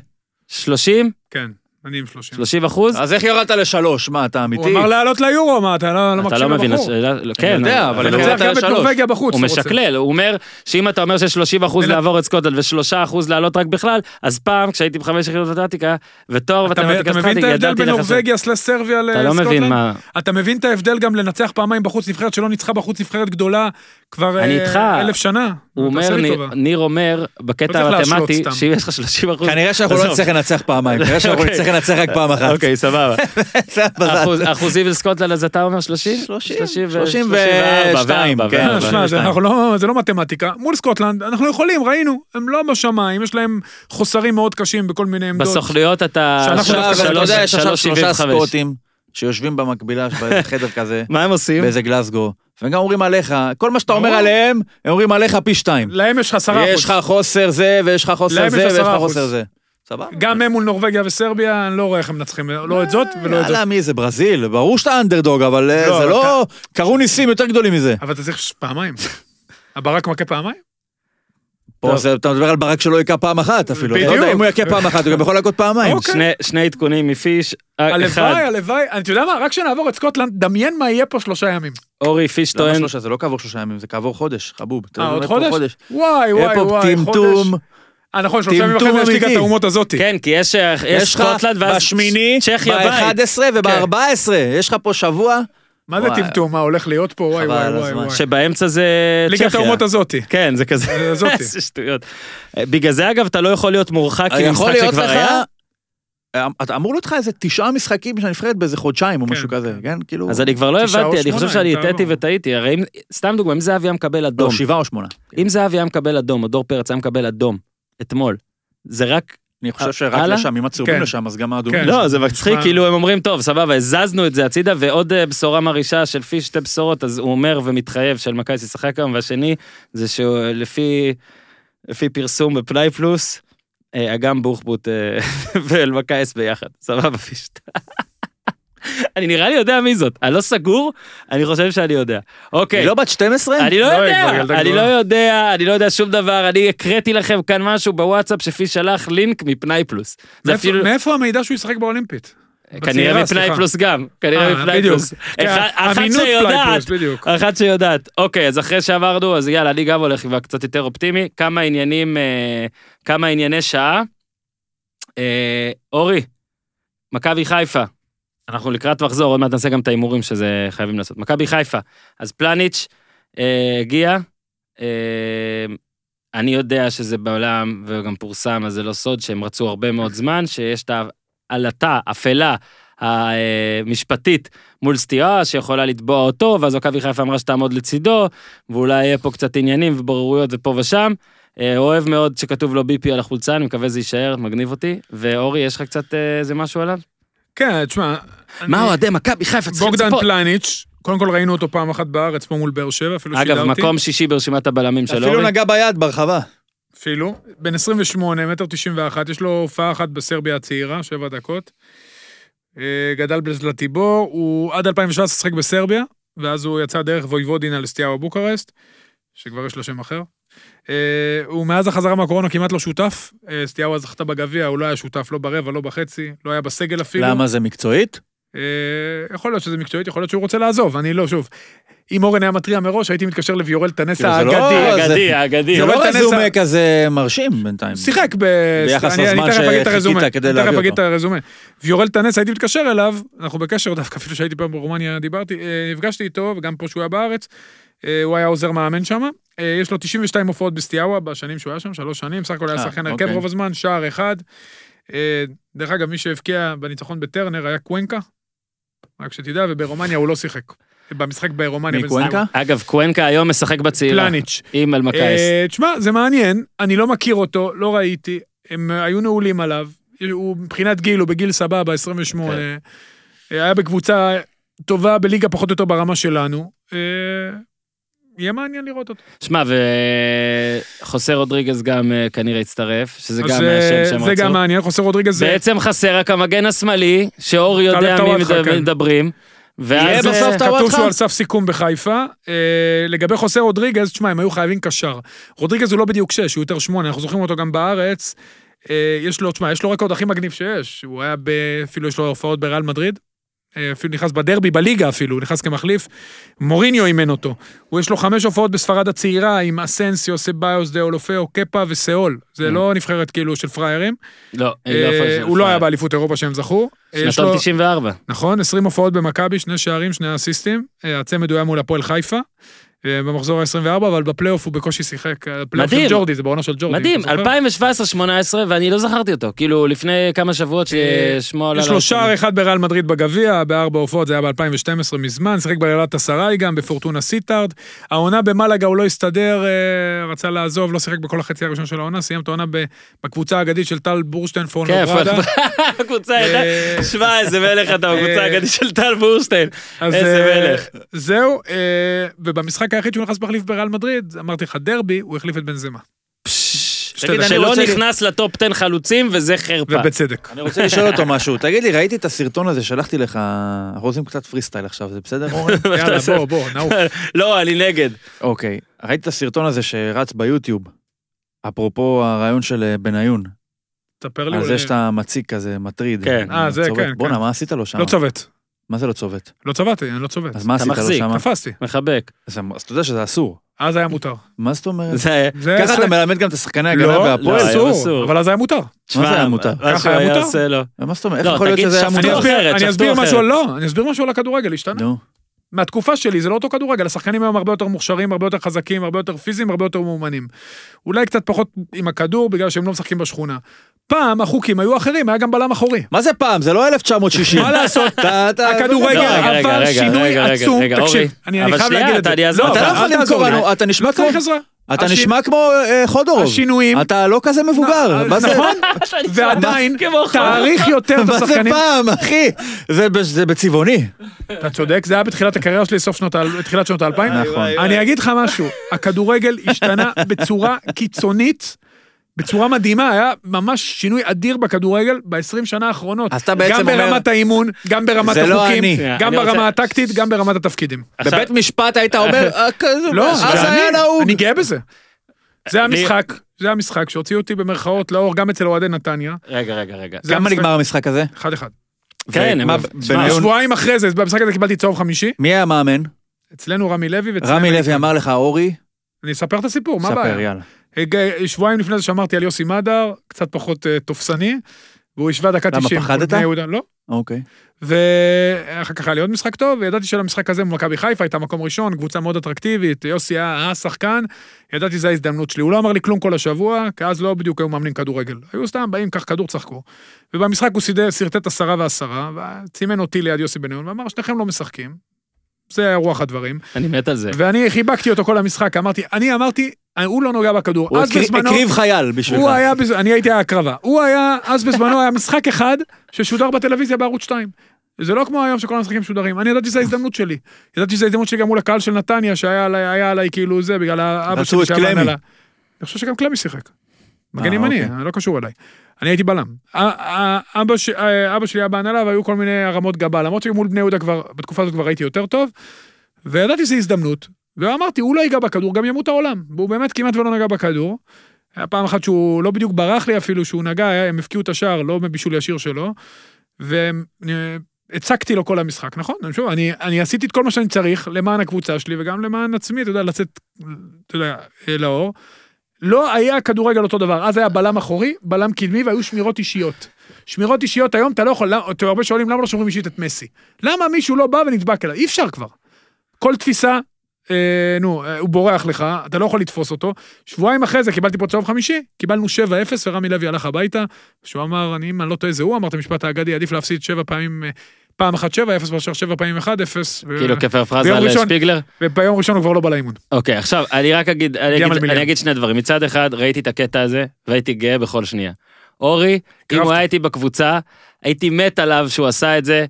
A: 30?
D: כן, אני עם 30.
A: 30
D: אה,
A: אחוז?
C: אז איך ירדת לשלוש? מה, אתה אמיתי?
D: הוא אמר לעלות ליורו, מה, אתה לא לא
A: אתה
D: מקשיב
A: לא מבין,
D: לבחור.
A: השאלה, לא, כן,
C: יודע, אבל
D: אבל
C: אני
D: הוא
C: רוצה
D: צריך גם את
C: לשלוש.
D: נורבגיה בחוץ.
A: הוא
D: רוצה.
A: משקלל, הוא אומר שאם אתה אומר ש-30%
D: בין-
A: לעבור את סקוטלנד ו-3% לעלות רק בכלל, אז פעם כשהייתי בחמש יחידות מתמטיקה, ותואר
D: אתה מבין-
A: מתמטיקה
D: אתה מבין את
A: סטטיקה,
D: ההבדל
A: ידעתי
D: בין
A: לחשב.
D: נורבגיה סלס סרביה
A: אתה לא
D: לסקוטלנד?
A: מבין מה...
D: אתה מבין את ההבדל גם לנצח פעמיים בחוץ נבחרת שלא ניצחה בחוץ נבחרת גדולה כבר
A: אני
D: אה,
A: איתך.
D: אלף שנה?
A: הוא אומר,
D: תעשה לי
A: ניר-
D: טובה.
A: ניר אומר, בקטע
D: לא צריך להשלות
A: המתמטי,
D: סתם.
A: שאם יש לך 30%...
C: כנראה שאנחנו לא
A: עזוב.
C: נצטרך לנצח פעמיים, כנראה שאנחנו
A: אוקיי.
C: נצטרך לנצח רק פעם אחת.
A: אוקיי,
C: (laughs)
A: סבבה.
C: זה המזל.
A: אחוז- אחוזים לסקוטלנד, אז אתה אומר 30?
C: 30,
A: 32,
C: 32,
A: וארבע,
C: כן.
D: אה,
A: וארבע.
C: אבל
D: שמע,
C: יש
D: זה
C: להם.
D: אנחנו לא- זה לא מתמטיקה. מול סקוטלנד, אנחנו יכולים, ראינו, הם לא בשמיים, יש להם חוסרים מאוד קשים בכל מיני עמדות.
A: בסוכנויות אתה...
D: שאנחנו
A: שלוש-
C: עכשיו, אבל אתה
A: שלוש-
C: יודע, יש עכשיו
A: שלוש
C: שלושה
A: 75.
C: סקוטים שיושבים במקבילה
D: (laughs)
C: בחדר כזה,
A: מה הם עושים?
C: באיזה גלסגו, והם גם אומרים עליך, כל מה שאתה אומר עליהם, הם אומרים עליך פי שתיים.
D: להם יש עשרה
C: יש
D: אחוז.
C: לך חוסר זה, ויש לך חוסר
D: להם
C: זה,
D: יש
C: ויש לך
D: עשרה
C: חוסר
D: אחוז.
C: זה. סבבה?
D: גם הם מול נורבגיה וסרביה, אני לא רואה איך הם מנצחים, לא את זאת ולא את זאת.
C: יאללה, מי זה ברזיל? ברור שאתה אנדרדוג, אבל אה,
D: לא,
C: זה
D: אבל
C: לא... קרו ניסים יותר גדולים מזה.
D: (laughs) אבל אתה צריך ש- פעמיים. הברק מכה פעמיים?
C: פה זה- אתה מדבר על ברק שלא היכה פעם אחת אפילו. אתה לא יודע,
D: בדיוק.
C: אם הוא יכה פעם אחת, הוא גם יכול להכות פעמיים.
D: אוקיי.
A: שני- שני עדכונים מפיש, אה,
D: הלוואי,
A: אחד,
D: הלוואי, אתה יודע מה, רק כשנעבור את סקוטלנד, דמיין מה יהיה פה שלושה ימים.
A: אורי פיש
C: למה
A: טוען,
C: שלושה? זה לא כעבור שלושה ימים, זה כעבור חודש, חבוב. אתה
D: אה, עוד
C: לומד פה
D: חודש? וואי,
C: יהיה
D: וואי,
C: פה
D: וואי, חודש.
C: טמטום,
D: אה, נכון, שלושה ימים אחרי
C: טמטום
D: זה יש ליגת
C: אמיתי.
D: האומות הזאתי.
A: כן, כי יש יש
C: יש לך
A: סקוטלנד ואז
C: בשמיני,
A: צ'כיה בית.
C: ב-11
A: כן.
C: וב-14, יש לך פה שבוע.
A: אה,
D: מה זה
C: וואי.
D: טמטום? מה הולך להיות פה? וואי,
C: חבל
D: וואי,
C: על
D: וואי,
C: הזמן.
D: וואי.
A: שבאמצע זה צ'כיה.
D: ליגת האומות הזאתי.
A: כן, (laughs) זה כזה,
D: אה, זאתי.
A: איזה שטויות. בגלל זה אגב אתה לא יכול להיות מורחק כי
C: אה, יכול
A: משחק
C: להיות
A: שכבר
C: לך... אה,
A: היה,
C: אתה אמור להיות לך איזה תשעה משחקים של הנבחרת באיזה חודשיים או
D: כן,
C: משהו כזה, כן? כאילו...
A: אז אני כבר לא
D: תשעה או
A: הבנתי, אני
D: שמונה,
A: חושב שאני
D: אם אתה
A: הטעיתי
D: לא-
A: וטעיתי, הרי אם, סתם דוגמא, אם זהבי היה מקבל
C: לא,
A: אדום,
C: שבעה או שמונה.
A: אם זהבי היה מקבל אדום, או דור פרץ היה מקבל אדום, אתמול, זה רק,
C: אני חושב שרק
A: אה, הלאה?
C: לשם, אם הצהובים
D: כן.
C: לשם, אז גם האדומים.
D: כן.
A: לא, זה מצחיק,
D: מה?
A: כאילו הם אומרים, טוב, סבבה, הזזנו את זה הצידה, ועוד אה, בשורה מרעישה של פיש, שתי בשורות, אז הוא אומר ומתחייב של מכבי שישחק היום, והשני, זה שלפי, לפי פרסום בפנאי פלוס, אה, אגם בוחבוט אה, (laughs) ואלמקייס ביחד, סבבה, פיש. (laughs) אני נראה לי יודע מי זאת, אני לא סגור, אני חושב שאני יודע. אוקיי.
C: היא לא בת 12?
A: אני לא
D: לא, היא כבר
A: יודע,
D: ילדה
A: אני לא
D: גדולה.
A: יודע, אני לא יודע שום דבר, אני הקראתי לכם כאן משהו בוואטסאפ שפיש שלח לינק מפנאי פלוס. זה
D: מאיפה-
A: אפילו,
D: מאיפה המידע שהוא ישחק באולימפית? בצעירה,
A: כנראה מפנאי
D: סליחה.
A: פלוס גם,
D: אה,
A: כנראה מפנאי
D: בדיוק.
A: פלוס.
D: כן,
A: אחד- אחת
D: אמינות פנאי
A: שיודעת,
D: פלוס, בדיוק.
A: אחת שיודעת. אוקיי, אז אחרי שעברנו, אז יאללה, אני גם הולך כבר קצת יותר אופטימי. כמה עניינים, אה, כמה ענייני שעה. אה, אורי, מכבי חיפה. אנחנו לקראת מחזור, עוד מעט נעשה גם את ההימורים שזה חייבים לעשות. מכבי חיפה. אז פלניץ' אה, הגיע. אה, אני יודע שזה בעולם, וגם פורסם, אז זה לא סוד, שהם רצו הרבה מאוד זמן, שיש את העלטה, אפלה, אה, המשפטית מול סטירה שיכולה לתבוע אותו, ואז מכבי חיפה אמרה שתעמוד לצידו, ואולי יהיה פה קצת עניינים ובוררויות ופה ושם. אה, אוהב מאוד שכתוב לו ביפי על החולצה, אני מקווה זה יישאר, מגניב אותי. ואורי, יש לך קצת אה, איזה משהו עליו?
D: כן, תשמע...
A: מה
D: אני-
A: אוהדי מכבי חיפה צריכים
D: בוגדן
A: לצפות?
D: פלניץ', קודם כל ראינו אותו פעם אחת בארץ, פה מול באר שבע, אפילו שידרתי.
A: אגב, מקום שישי ברשימת הבלמים של
C: אפילו
A: אורי.
C: נגע ביד ברחבה.
D: אפילו. בן 28, מטר 91, יש לו הופעה אחת בסרביה הצעירה, שבע דקות. אה, גדל בזלטיבור, הוא עד 2017 שחק בסרביה, ואז הוא יצא דרך וויבודינה לסטיהו בוקרשט, שכבר יש לו שם אחר. אה, הוא מאז החזרה מהקורונה כמעט לא שותף, אה, סטיהו אז זכתה בגביע, הוא לא היה שותף לא ברבע, לא בחצי, לא היה בסגל אפילו.
C: למה זה מקצועית?
D: אה, יכול להיות שזה מקצועית, יכול להיות שהוא רוצה לעזוב, אני לא, שוב. אם אורן היה מתריע מראש, הייתי מתקשר לוויורל טנס
C: כאילו, זה לא-
D: האגדי.
A: האגדי,
C: זה-
A: האגדי.
C: זה
D: אבל
C: לא
D: תנסה-
C: רזומה כזה מרשים בינתיים.
D: שיחק ב...
C: ביחס
D: אני- אני
C: לזמן
D: תכף אגיד את
C: שחיכית
D: הרזומה.
C: כדי
D: אני
C: להביא
D: תכף אגיד את
C: אותו.
D: הרזומה. ויורל טנס, הייתי מתקשר אליו, אנחנו בקשר דווקא, אפילו שהייתי פעם ברומניה, דיברתי, אה, נפגשתי איתו, וגם פה שהוא היה בארץ, אה, הוא היה עוזר מאמן שם. אה, יש לו 92 הופעות בסטיאבה בשנים שהוא היה שם, שלוש שנים, סך הכל היה
C: אה,
D: שחקן הרכב
C: אוקיי.
D: רוב הזמן, שער אחד. אה, דרך אגב, מי שהבקיע בניצחון בטרנר היה קוונקה, רק שתדע, וברומניה הוא לא שיחק. במשחק ברומניה.
C: מי,
D: בין סטיאבה.
C: קוונקה?
A: אגב, קוונקה היום משחק בצעירה.
D: פלניץ'.
A: עם אלמקייס.
D: אה, תשמע, זה מעניין, אני לא מכיר אותו, לא ראיתי, הם אה, היו נעולים עליו, הוא מבחינת גיל, הוא בגיל סבבה, 28,
A: אוקיי.
D: אה, היה בקבוצה טובה בליגה פחות או יותר ברמה שלנו, אה, יהיה מעניין לראות אותו.
A: שמע, וחוסה רודריגז גם אה, כנראה הצטרף, שזה
D: אז,
A: גם
D: אה,
A: היה שם שהם
D: זה
A: רצו.
D: גם מעניין, חוסר רודריגז אה, זה...
A: בעצם חסר רק המגן השמאלי, שאורי יודע
D: טלב
A: מי
D: טוואטחה,
A: מדבר-
D: כן.
A: מדברים.
C: יהיה
A: ואז...
C: בסוף
A: אה,
C: טוואטחה.
D: כתוב שהוא על סף סיכום בחיפה. אה, לגבי חוסר רודריגז, תשמע, הם היו חייבים קשר. רודריגז הוא לא בדיוק שש, הוא יותר שמונה, אנחנו זוכרים אותו גם בארץ. אה, יש לו, תשמע, יש לו רקורד הכי מגניב שיש. הוא היה ב... אפילו יש לו הופעות בריאל מדריד. אה, אפילו נכנס בדרבי, בליגה אפילו, הוא נכנס כמחליף. מוריניו אימן אותו. הוא יש לו חמש הופעות בספרד הצעירה עם אסנסיו, סביוס, דה אולופאו, קפה וסאול. זה לא נבחרת כאילו של פראיירים.
A: לא, היא לא
D: אה,
A: יכולה לשבת
D: הוא לא היה
A: לפניי.
D: באליפות אירופה שהם זכו. אה, יש
A: שנתון
D: לו-
A: 94.
D: נכון, 20 הופעות במכבי, שני שערים, שני אסיסטים. אה, הצמד הוא היה מול הפועל חיפה, אה, במחזור ה-24, אבל בפלייאוף הוא בקושי שיחק. הפלייאוף של
A: מדהים.
D: ג'ורדי, זה בעונה של ג'ורדי.
A: מדהים,
D: אתה זוכר?
A: 2017-2018, ואני לא זכרתי אותו. כאילו, לפני כמה שבועות ששמו עלה...
D: אה, יש לו שער אחד בריאל מדריד בגביע, בארבע הופעות, זה היה ב-2012 מזמן, שיחק באלת אסריי גם, בפורטונה סיטארד. העונה במלאגה הוא לא הסתדר, אה, רצה לעזוב, לא שיחק בכל החצי הראשון של העונה, סיים את העונה ב- בקבוצה האגדית של טל בורשטיין
A: כן,
D: פורנוברדה.
A: (laughs) הקבוצה הייתה...
D: אה,
A: שמע, איזה מלך אתה, הקבוצה
D: אה,
A: האגדית של טל בורשטיין.
D: אז,
A: איזה
D: אה,
A: מלך.
D: זהו, אה, ובמשחק היחיד שהוא נכנס מחליף בריאל מדריד, אמרתי לך דרבי, הוא החליף את בנזמה. שתי
A: תגיד,
D: דקות.
A: שלא
D: אני רוצה-
A: נכנס לטופ 10 חלוצים, וזה חרפה.
D: ובצדק.
C: אני רוצה לשאול אותו משהו. תגיד לי, ראיתי את הסרטון הזה, שלחתי לך, אנחנו עושים קצת פרי סטייל עכשיו, זה בסדר? אורן?
D: (laughs) יאללה, בוא, בוא, נעוף.
A: לא, אני נגד.
C: אוקיי, ראיתי את הסרטון הזה שרץ ביוטיוב, אפרופו הרעיון של אה, בניון,
D: תספר לא לי.
C: על
D: אולי-
C: זה שאתה מציק כזה, מטריד.
A: כן.
D: אה, זה,
C: צובט.
D: כן, כן.
C: בואנה, מה עשית לו שם?
D: לא צובט.
C: מה זה לא צובט?
D: לא צבעתי, אני לא צובט.
C: אז מה
A: אתה
C: עשית לו
A: מחזיק.
C: שם?
D: תפסתי.
A: מחבק.
D: אה.
C: אז אז אתה יודע שזה אסור.
D: אז היה מותר.
C: מה זאת אומרת?
A: זה...
D: זה
C: ככה
D: אסור.
C: אתה מלמד גם את השחקני הגנה
D: לא,
C: והפועל?
A: לא,
D: אסור,
A: אסור.
D: אבל אז היה מותר.
C: מה זה היה
A: תשמע,
C: מותר?
A: מה
D: ככה
A: שהוא
D: היה
A: היה
D: מותר?
A: עושה לו.
C: אה, מה זאת אומרת? איך
A: לא,
C: יכול להיות
A: תגיד,
C: שזה היה
A: שפטו.
D: אני
A: שפטו.
C: מותר?
D: אסביר-
A: אחרת,
D: אני
A: שפטו
D: אסביר משהו,
A: אחרת.
D: על- לא, אני אסביר משהו על הכדורגל, השתנה.
C: נו,
D: מהתקופה שלי זה לא אותו כדורגל, השחקנים היום הרבה יותר מוכשרים, הרבה יותר חזקים, הרבה יותר פיזיים, הרבה יותר מאומנים. אולי קצת פחות עם הכדור, בגלל שהם לא משחקים בשכונה. פעם החוקים היו אחרים, היה גם בלם אחורי.
C: מה זה פעם? זה
D: (laughs)
C: לא 1960.
D: מה לעשות?
C: אתה- אתה-
D: הכדורגל
C: לא,
A: רגע, רגע,
D: עבר
A: רגע,
D: שינוי
A: רגע, רגע,
D: עצום.
A: רגע, אורי.
D: תקשיב, אני
A: אבל
D: אני חייב
A: שנייה,
D: להגיד את זה.
A: אתה- אני אעזוב,
D: לא,
C: אתה לא
D: אל
C: יכול
D: תעזור
C: למכור
D: לי.
C: לנו, אתה נשמע
D: לא
C: כמו...
D: צריך עזרה.
C: אתה
D: השי-
C: נשמע כמו אה, חודורוב.
D: השינויים.
C: אתה לא כזה מבוגר,
D: לא,
C: מה זה?
D: נכון? (laughs) ועדיין, תעריך יותר את
C: (laughs) מה זה
D: השחקנים.
C: פעם, אחי? זה ב- זה בצבעוני.
D: אתה צודק, זה היה בתחילת הקריירה שלי, סוף שנות, ה- תחילת שנות האלפיים.
C: נכון.
D: אני אגיד לך משהו, הכדורגל השתנה בצורה קיצונית. בצורה מדהימה, היה ממש שינוי אדיר בכדורגל ב-20 שנה האחרונות.
C: אז אתה בעצם
D: גם
C: אומר-
D: ברמת האימון, גם ברמת
C: זה לא
D: החוקים,
C: אני.
D: גם
A: אני רוצה-
D: ברמה הטקטית, גם ברמת התפקידים.
A: עכשיו-
C: בבית משפט היית
D: (laughs)
C: אומר, "אה, כזה,
D: לא,
C: אז
D: זה
C: היה
D: אני,
C: נהוג.
D: אני גאה בזה. זה
A: אני-
D: המשחק, זה המשחק שהוציאו אותי במרכאות לאור גם אצל אוהדי נתניה.
A: רגע, רגע, רגע.
D: זה
C: כמה
D: המשחק-
C: נגמר אה, המשחק הזה?
D: אחד אחד.
A: כן,
C: ומה-
A: הם- תשמע,
C: בניון-
D: שבועיים אחרי זה, במשחק הזה קיבלתי צהוב חמישי.
C: מי היה המאמן?
D: אצלנו רמי לוי ואצלנו...
C: רמי לוי אמר לך, אורי,
D: אני אספר את הסיפור, מה
C: ספר,
D: הבעיה?
C: יאללה.
D: הג- אה, שבועיים לפני זה שמרתי על יוסי מדר, קצת פחות אה, תופסני, והוא השווה דקה
C: למה,
D: 90. מול
C: פחדת?
D: בני יהודה, לא.
C: אוקיי.
D: ואחר כך היה לי עוד משחק טוב, וידעתי שלמשחק הזה מול מכבי חיפה הייתה מקום ראשון, קבוצה מאוד אטרקטיבית, יוסי היה השחקן, ידעתי שזו ההזדמנות שלי. הוא לא אמר לי כלום כל השבוע, כי אז לא בדיוק היו מאמנים כדורגל. היו סתם באים, קח כדור, צחקו. ובמשחק הוא סידר, שרטט עשרה ועשרה, וצימן אותי ליד יוסי בניון, ואמר, שניכם לא משחקים. זה היה רוח הדברים.
A: אני מת על זה.
D: ואני חיבקתי אותו כל המשחק, אמרתי, אני אמרתי, הוא לא נוגע בכדור.
C: הוא
D: אז
C: הקריב-
D: בזמנו...
C: הקריב חייל בשבילך.
D: הוא היה, בז- אני הייתי ההקרבה, הוא היה, אז בזמנו היה משחק אחד ששודר בטלוויזיה בערוץ 2. זה לא כמו היום שכל המשחקים משודרים, אני ידעתי שזו ההזדמנות שלי. ידעתי שזו ההזדמנות שלי גם מול הקהל של נתניה שהיה עליי, היה עליי כאילו זה, בגלל האבא
C: רצו
D: שלי
C: את
D: שהיה
C: קלמי.
D: בהנהלה. אני חושב שגם קלמי שיחק. מגן
C: אה,
D: ימני,
C: אוקיי.
D: לא קשור אליי. אני הייתי בלם. א- א- אבא ש- א- אבא שלי היה בהנהלה והיו כל מיני הרמות גבה, למרות שמול בני יהודה כבר, בתקופה הזאת כבר הייתי יותר טוב, וידעתי שזו הזדמנות, ואמרתי, הוא לא ייגע בכדור, גם ימות העולם. והוא באמת כמעט ולא נגע בכדור. היה פעם אחת שהוא לא בדיוק ברח לי אפילו, שהוא נגע, היה- הם הבקיעו את השער, לא מבישול ישיר שלו. והצקתי לו כל המשחק, נכון? אני, שוב, אני, אני עשיתי את כל מה שאני צריך למען הקבוצה שלי וגם למען עצמי, אתה יודע, לצאת, אתה יודע, אה, לאור. לא היה כדורגל אותו דבר, אז היה בלם אחורי, בלם קדמי והיו שמירות אישיות. שמירות אישיות היום אתה לא יכול, למה- אתה הרבה שואלים למה לא שומרים אישית את מסי. למה מישהו לא בא ונדבק אליו? אי אפשר כבר. כל תפיסה, אה, נו, אה, הוא בורח לך, אתה לא יכול לתפוס אותו. שבועיים אחרי זה קיבלתי פה צהוב חמישי, קיבלנו 7-0 ורמי לוי הלך הביתה, שהוא אמר, אני, אם אני לא טועה, זה הוא אמר את המשפט האגדי, עדיף להפסיד שבע פעמים, אה, פעם אחת 7-0 מאשר שבע פעמים 1-0. ו-
A: כאילו כפרפרזה
D: אה, ביום
A: על
D: ראשון.
A: שפיגלר.
D: וביום ראשון הוא כבר לא בא לאימון.
A: אוקיי, עכשיו, אני רק אגיד, אני
D: גם על
A: אגיד,
D: מיליון.
A: אני אגיד שני דברים. מצד אחד, ראיתי את הקטע הזה, והייתי גאה בכל שנייה. אורי, אם
D: קרבתי.
A: הוא היה איתי בקבוצה, הייתי מת עליו שהוא עשה את זה,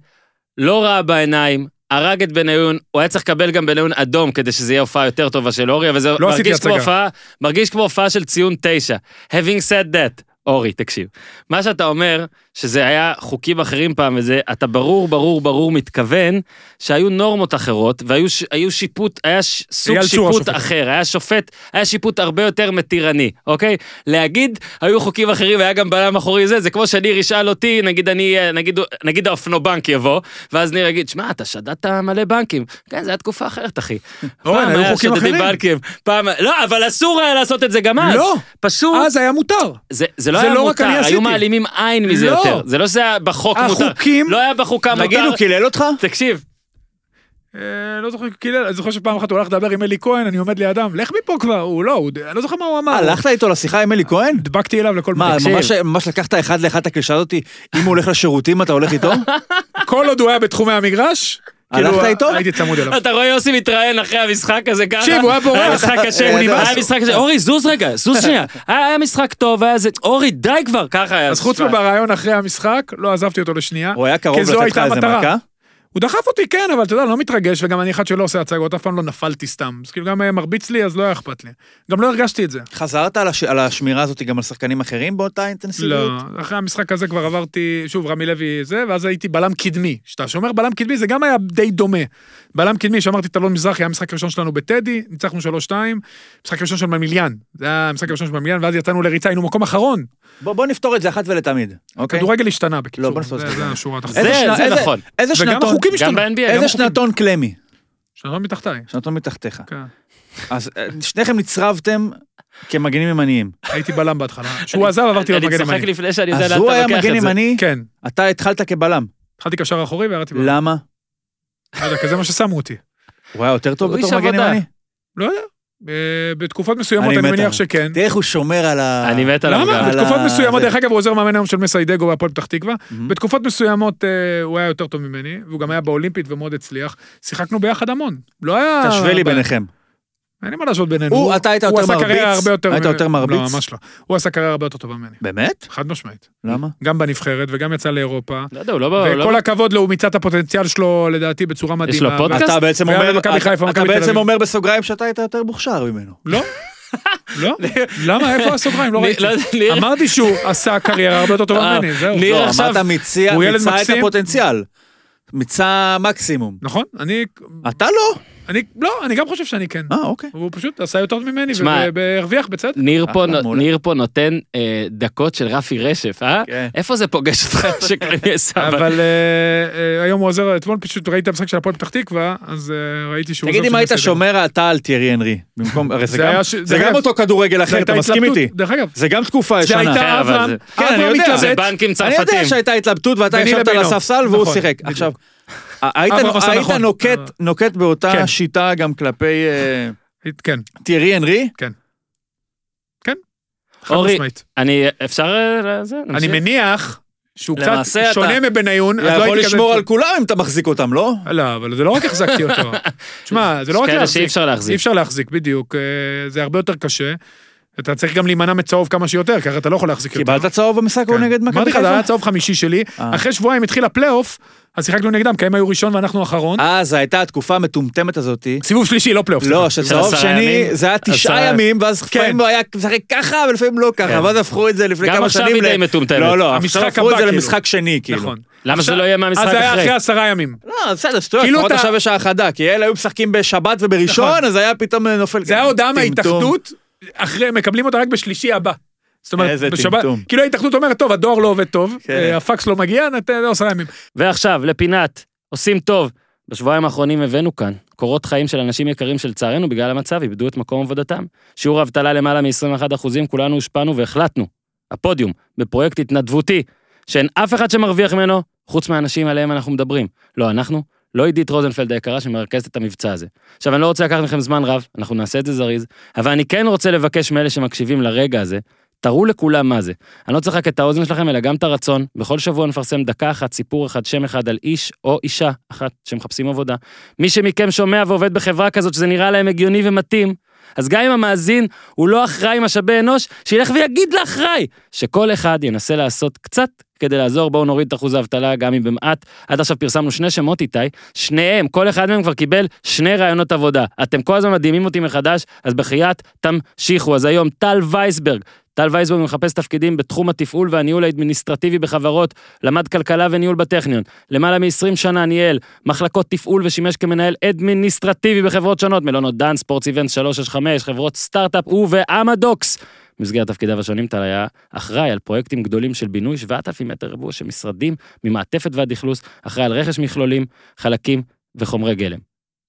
A: לא ראה בעיניים, הרג את בניון, הוא היה צריך לקבל גם בניון אדום כדי שזה יהיה הופעה יותר טובה של אורי, אבל זה
D: לא עשיתי
A: מרגיש, כמו
D: הצגה.
A: הופעה, מרגיש כמו הופעה של ציון תשע. Having said that, אורי, תקשיב. מה שאתה אומר, שזה היה חוקים אחרים פעם וזה, אתה ברור, ברור, ברור מתכוון, שהיו נורמות אחרות, והיו ש- היו שיפוט, היה ש- סוג
D: אייל צור
A: שיפוט
D: השופט.
A: אחר, היה שופט, היה שיפוט הרבה יותר מתירני, אוקיי? להגיד, היו חוקים אחרים, היה גם בלם אחורי זה, זה כמו שניר ישאל אותי, נגיד אני, אה, נגיד, נגיד האופנובנק יבוא, ואז ניר יגיד, שמע, אתה שדדת מלא בנקים. כן, זו הייתה תקופה אחרת, אחי.
D: אורן,
A: פעם
D: היו
A: היה
D: חוקים
A: שודדים
D: אחרים.
A: בנקים, פעם, לא, אבל אסור היה לעשות את זה גם אז.
D: לא.
A: פשוט,
D: אז היה מותר.
A: זה, זה לא
D: זה
A: היה
D: לא רק
A: מותר,
D: אני
A: היו
D: עשיתי.
A: מעלימים עין מזה
D: לא.
A: יותר. זה לא שזה היה בחוק מותר.
D: החוקים-
A: לא היה בחוקה מותר.
C: תגיד, הוא קילל אותך?
A: תקשיב,
D: אה, לא זוכר, כאילו, אני זוכר שפעם אחת הוא הלך לדבר עם אלי כהן, אני עומד לידם, לך מפה כבר, הוא לא, הוא- אני לא זוכר מה הוא אמר.
C: אה, הלכת איתו לשיחה עם אלי כהן?
D: נדבקתי אליו לכל
C: מה,
D: מיני.
C: ממש- ממש לקחת אחד לאחד את הקלישה הזאתי, אם הוא הולך לשירותים אתה הולך
D: (laughs)
C: איתו?
D: כל עוד הוא היה בתחומי המגרש,
C: הלכת
D: כאילו,
C: איתו?
D: הייתי
C: (laughs)
D: צמוד אליו.
A: אתה רואה יוסי מתראיין אחרי המשחק הזה ככה?
D: תקשיב, הוא היה בורח. אה.
A: היה משחק קשה, הוא
C: אה,
A: נמאס.
C: אה,
A: היה משחק קשה. אורי, זוז רגע, זוז שנייה. היה היה משחק טוב, היה זה... אורי, די כבר, ככה היה.
D: אז חוץ
A: תשמע.
D: מברעיון אחרי המשחק, לא עזבתי אותו לשנייה.
C: הוא היה קרוב
D: כי זו
C: לתת לך
D: הייתה
C: איזה
D: המטרה.
C: מכה?
D: הוא דחף אותי, כן, אבל אתה יודע, אני לא מתרגש, וגם אני אחד שלא עושה הצגות, אף פעם לא נפלתי סתם. אז כאילו גם אה, מרביץ לי, אז לא היה אכפת לי. גם לא הרגשתי את זה.
C: חזרת על הש- על השמירה הזאת גם על שחקנים אחרים באותה
D: לא,
C: אינטנסיביות?
D: אחרי המשחק הזה כבר עברתי, שוב, רמי לוי זה, ואז הייתי בלם קדמי. כשאתה שומר בלם קדמי, זה גם היה די דומה. בלם קדמי, שאמרתי את אלון מזרחי, היה המשחק הראשון שלנו בטדי, ניצחנו 3-2, משחק הראשון של ממיליאן, זה היה המשחק הראשון של ממיליאן, ואז יצאנו לריצה, היינו מקום אחרון.
C: בוא בוא נפתור את זה אחת ולתמיד, אוקיי?
D: כדורגל השתנה
C: לא,
D: בקיצור,
C: בוא נעשה את
D: זה
C: זה.
D: זה השורה התחתונה.
A: זה-
C: איזה שנה-
A: זה
C: איזה-
A: נכון.
C: איזה
D: וגם
C: שנתון,
D: החוקים
A: גם
D: השתנו,
A: ב-NBA, גם
C: איזה
A: בחוקים.
C: שנתון קלמי?
D: שנתון מתחתיי.
C: שנתון מתחתיך.
D: כן.
C: אז אה, שניכם נצרבתם כמגנים ימניים.
D: הייתי בלם בהתחלה, כשהוא עזב עברתי להיות
A: אני
D: מגן
A: צוחק
D: ימני.
A: לפני שאני יודע
C: אז
A: לאן
C: הוא
A: אתה
C: היה
A: לוקח
C: מגן
A: את זה.
C: ימני,
D: כן,
C: אתה התחלת כבלם.
D: התחלתי קשר אחורי וירדתי בלם.
C: למה?
D: לא יודע, כי זה מה ששמו אותי.
C: הוא היה יותר טוב
A: הוא
C: בתור
A: איש
C: מגן
A: עבודה.
C: ימני?
D: לא יודע, אה, בתקופות מסוימות
C: אני
D: אני
C: מת
D: מניח
C: עליו.
D: שכן.
C: תראה איך הוא שומר על ה...
A: אני מת עליו
D: למה?
A: גם.
C: על
D: בתקופות
C: ה-
D: מסוימות,
C: זה.
D: דרך אגב, הוא עוזר מאמן היום של מסיידגו בהפועל פתח תקווה.
C: מהמם.
D: בתקופות מסוימות אה, הוא היה יותר טוב ממני, והוא גם היה באולימפית ומאוד הצליח. שיחקנו ביחד המון. לא היה...
C: תשווה לי ביניכם.
D: אין לי מה להשוות בינינו.
C: הוא, אתה היית
D: הוא
C: יותר
D: עשה קריירה הרבה
C: מרביץ?
D: יותר...
C: היית יותר
D: לא,
C: מרביץ?
D: ממש לא. הוא עשה קריירה הרבה יותר טובה ממני.
C: באמת?
D: חד משמעית.
C: למה?
D: גם בנבחרת וגם יצא לאירופה.
A: לא יודע, הוא לא... הוא לא-
D: וכל הכבוד לו, הוא מיצה את הפוטנציאל שלו, לדעתי, בצורה מדהימה.
A: לו פודקאסט?
C: אתה בעצם
D: והיה
C: אומר,
D: במכבי חיפה,
C: אתה- אתה
D: מכבי תל
C: בעצם
D: אביב.
C: אומר בסוגריים שאתה היית יותר מוכשר ממנו.
D: לא. לא? למה? איפה הסוגריים? לא
A: אני-
D: ראיתי.
A: לא יודע, (laughs) ניר-
D: אמרתי שהוא עשה קריירה הרבה יותר טובה
A: אה,
D: ממני, זהו.
A: ניר
C: לא,
A: עכשיו-
C: אמרת מיצה
D: הוא ילד
C: מיצה את
D: מקסים.
C: הפוטנציאל. מיצה מקסימום.
D: נכון? אני...
C: אתה לא.
D: אני... לא, אני גם חושב שאני כן.
C: אה, אוקיי.
D: הוא פשוט עשה יותר טוב ממני,
A: שמע,
D: ו- והרוויח בצדק.
A: ניר פה
C: אחלה,
A: נו-
C: מעולה.
A: ניר פה נותן אה, דקות של רפי רשף, אה?
C: כן.
A: איפה זה פוגש
C: (laughs)
A: אותך שקרני סבא?
D: אבל אה, אה, היום הוא עוזר, אתמול פשוט ראיתי את המשחק של הפועל פתח תקווה, אז אה, ראיתי שהוא...
C: תגיד
D: עוזר
C: אם
D: של
C: היית
D: בסדר.
C: שומר אתה על תיארי הנרי. במקום, הרי זה
D: זה
C: גם-
D: היה ש-
C: זה
D: דרך
C: גם
D: אגב,
C: אותו כדורגל
D: זו
C: אחר,
D: הייתה
C: אתה מסכים
D: התלבטות.
C: איתי.
D: דרך אגב,
C: זה גם תקופה
D: זה
C: ישנה.
A: כן,
D: הייתה
A: אבל
D: אברהם,
A: זה-
C: כן, אני
D: אברהם
C: יודע,
A: זה
D: התלבט,
A: בנקים
C: אני יודע
A: צרפתים.
C: שהייתה התלבטות ואתה
D: ביני
C: ישבת על
D: לבינו.
C: הספסל והוא
D: נכון,
C: שיחק.
D: בדיוק.
C: עכשיו, היית
D: אברהם עשה
C: היית
D: נכון.
C: נוקט
D: אה.
C: נוקט באותה
D: כן.
C: שיטה גם כלפי אה,
D: כן,
C: תיארי הנרי?
D: חד
A: אורי,
D: משמעית.
A: אני... אפשר... אה, זה,
D: אני
A: נמשיך?
D: מניח שהוא קצת
C: למעשה אתה-
D: שונה מבניון, אז לא
C: יכול
D: הייתי כזה...
C: לשמור על כולם אם אתה מחזיק אותם, לא?
D: לא, אבל זה לא רק החזקתי
A: (laughs)
D: אותו. תשמע, זה לא
A: יש
D: רק
A: כאלה
D: להחזיק.
A: שאי אפשר
D: אי
A: להחזיק.
D: אפשר להחזיק, בדיוק. אה, זה הרבה יותר קשה. אתה צריך גם להימנע מצהוב כמה שיותר, ככה אתה לא יכול להחזיק יותר.
C: קיבלת צהוב במשחק ההוא
D: כן.
C: נגד
D: אמרתי
C: מכבי
D: לך, זה
C: חיפה?
D: היה צהוב חמישי שלי.
C: אה.
D: אחרי שבועיים התחיל הפלייאוף, אז שיחקנו נגדם, כי הם היו ראשון ואנחנו אחרון.
C: אה, זו הייתה התקופה המטומטמת
D: (laughs)
C: הזאתי.
D: סיבוב שלישי, לא פלייאוף.
C: לא,
D: סליחה.
C: שצהוב
A: עשרה
C: שני,
A: ימים?
C: זה היה
A: עשרה-
C: תשעה ימים, ואז
D: כן.
C: לפעמים הוא היה משחק ככה, ולפעמים לא ככה, ואז הפכו את זה לפני
A: גם
C: כמה
A: עכשיו
C: שנים
A: היא
C: ל-
A: די מטומטמת.
C: לא, לא,
D: המשחק
C: עכשיו הפכו את
D: הבא,
C: זה
D: כאילו.
C: למשחק שני, כאילו.
D: נכון.
A: למה
D: עכשיו-
A: זה לא יהיה מהמשחק
D: אז זה היה
A: אחרי?
D: אחרי עשרה ימים.
C: לא, בסדר, שטויות,
D: כאילו
C: לפחות
D: אתה-
C: עכשיו יש האחדה, כי אלה היו משחקים בשבת ובראשון,
D: נכון.
C: אז היה פתאום אה, נופל.
D: זה היה הודעה
C: טמטום.
D: מההתאחדות, אחרי, מקבלים אותה רק בשלישי הבא. זאת אומרת,
C: איזה
D: בשבת,
C: טמטום.
D: כאילו ההתאחדות אומרת, טוב, הדואר לא עובד טוב,
C: כן.
D: אה, הפקס לא מגיע, נתן לו עשרה ימים.
A: ועכשיו, לפינת, עושים טוב. בשבועיים האחרונים הבאנו כאן קורות חיים של אנשים יקרים שלצערנו בגלל המצב איבדו את מקום עבודתם. שיעור האבטלה למעלה מ-21 אחוזים, כולנו הושפענו והחלטנו, הפודיום, בפרויקט התנדבותי, שאין אף אחד שמרוויח ממנו, חוץ מהאנשים עליהם אנחנו מדברים. לא אנחנו, לא עידית רוזנפלד היקרה שמרכזת את המבצע הזה. עכשיו, אני לא רוצה לקחת מכם זמן רב, אנחנו נעשה את זה זריז, אבל אני כן רוצה לבקש מאלה שמקשיבים לרגע הזה, תראו לכולם מה זה. אני לא צריך רק את האוזן שלכם, אלא גם את הרצון. בכל שבוע נפרסם דקה אחת, סיפור אחד, שם אחד על איש או אישה אחת שמחפשים עבודה. מי שמכם שומע ועובד בחברה כזאת שזה נראה להם הגיוני ומתאים, אז גם אם המאזין הוא לא אחראי משאבי אנוש, שילך ויגיד לאחראי שכל אחד ינסה לעשות קצת כדי לעזור. בואו נוריד את אחוז האבטלה גם אם במעט. עד עכשיו פרסמנו שני שמות איתי, שניהם, כל אחד מהם כבר קיבל שני רעיונות עבודה. אתם כל הזמן מדהימים אותי מחדש, אז בחייאת תמשיכו. אז היום טל וייסברג, טל וייסברג מחפש תפקידים בתחום התפעול והניהול האדמיניסטרטיבי בחברות, למד כלכלה וניהול בטכניון. למעלה מ-20 שנה ניהל מחלקות תפעול ושימש כמנהל אדמיניסטרטיבי בחברות שונות, מלונות דן, ספורטס איבנט 365, חברות סטארט-אפ ובאמדוקס. במסגרת תפקידיו השונים טל היה אחראי על פרויקטים גדולים של בינוי 7,000 מטר רבוע של משרדים ממעטפת ועד אכלוס, אחראי על רכש מכלולים, חלקים וחומרי גלם.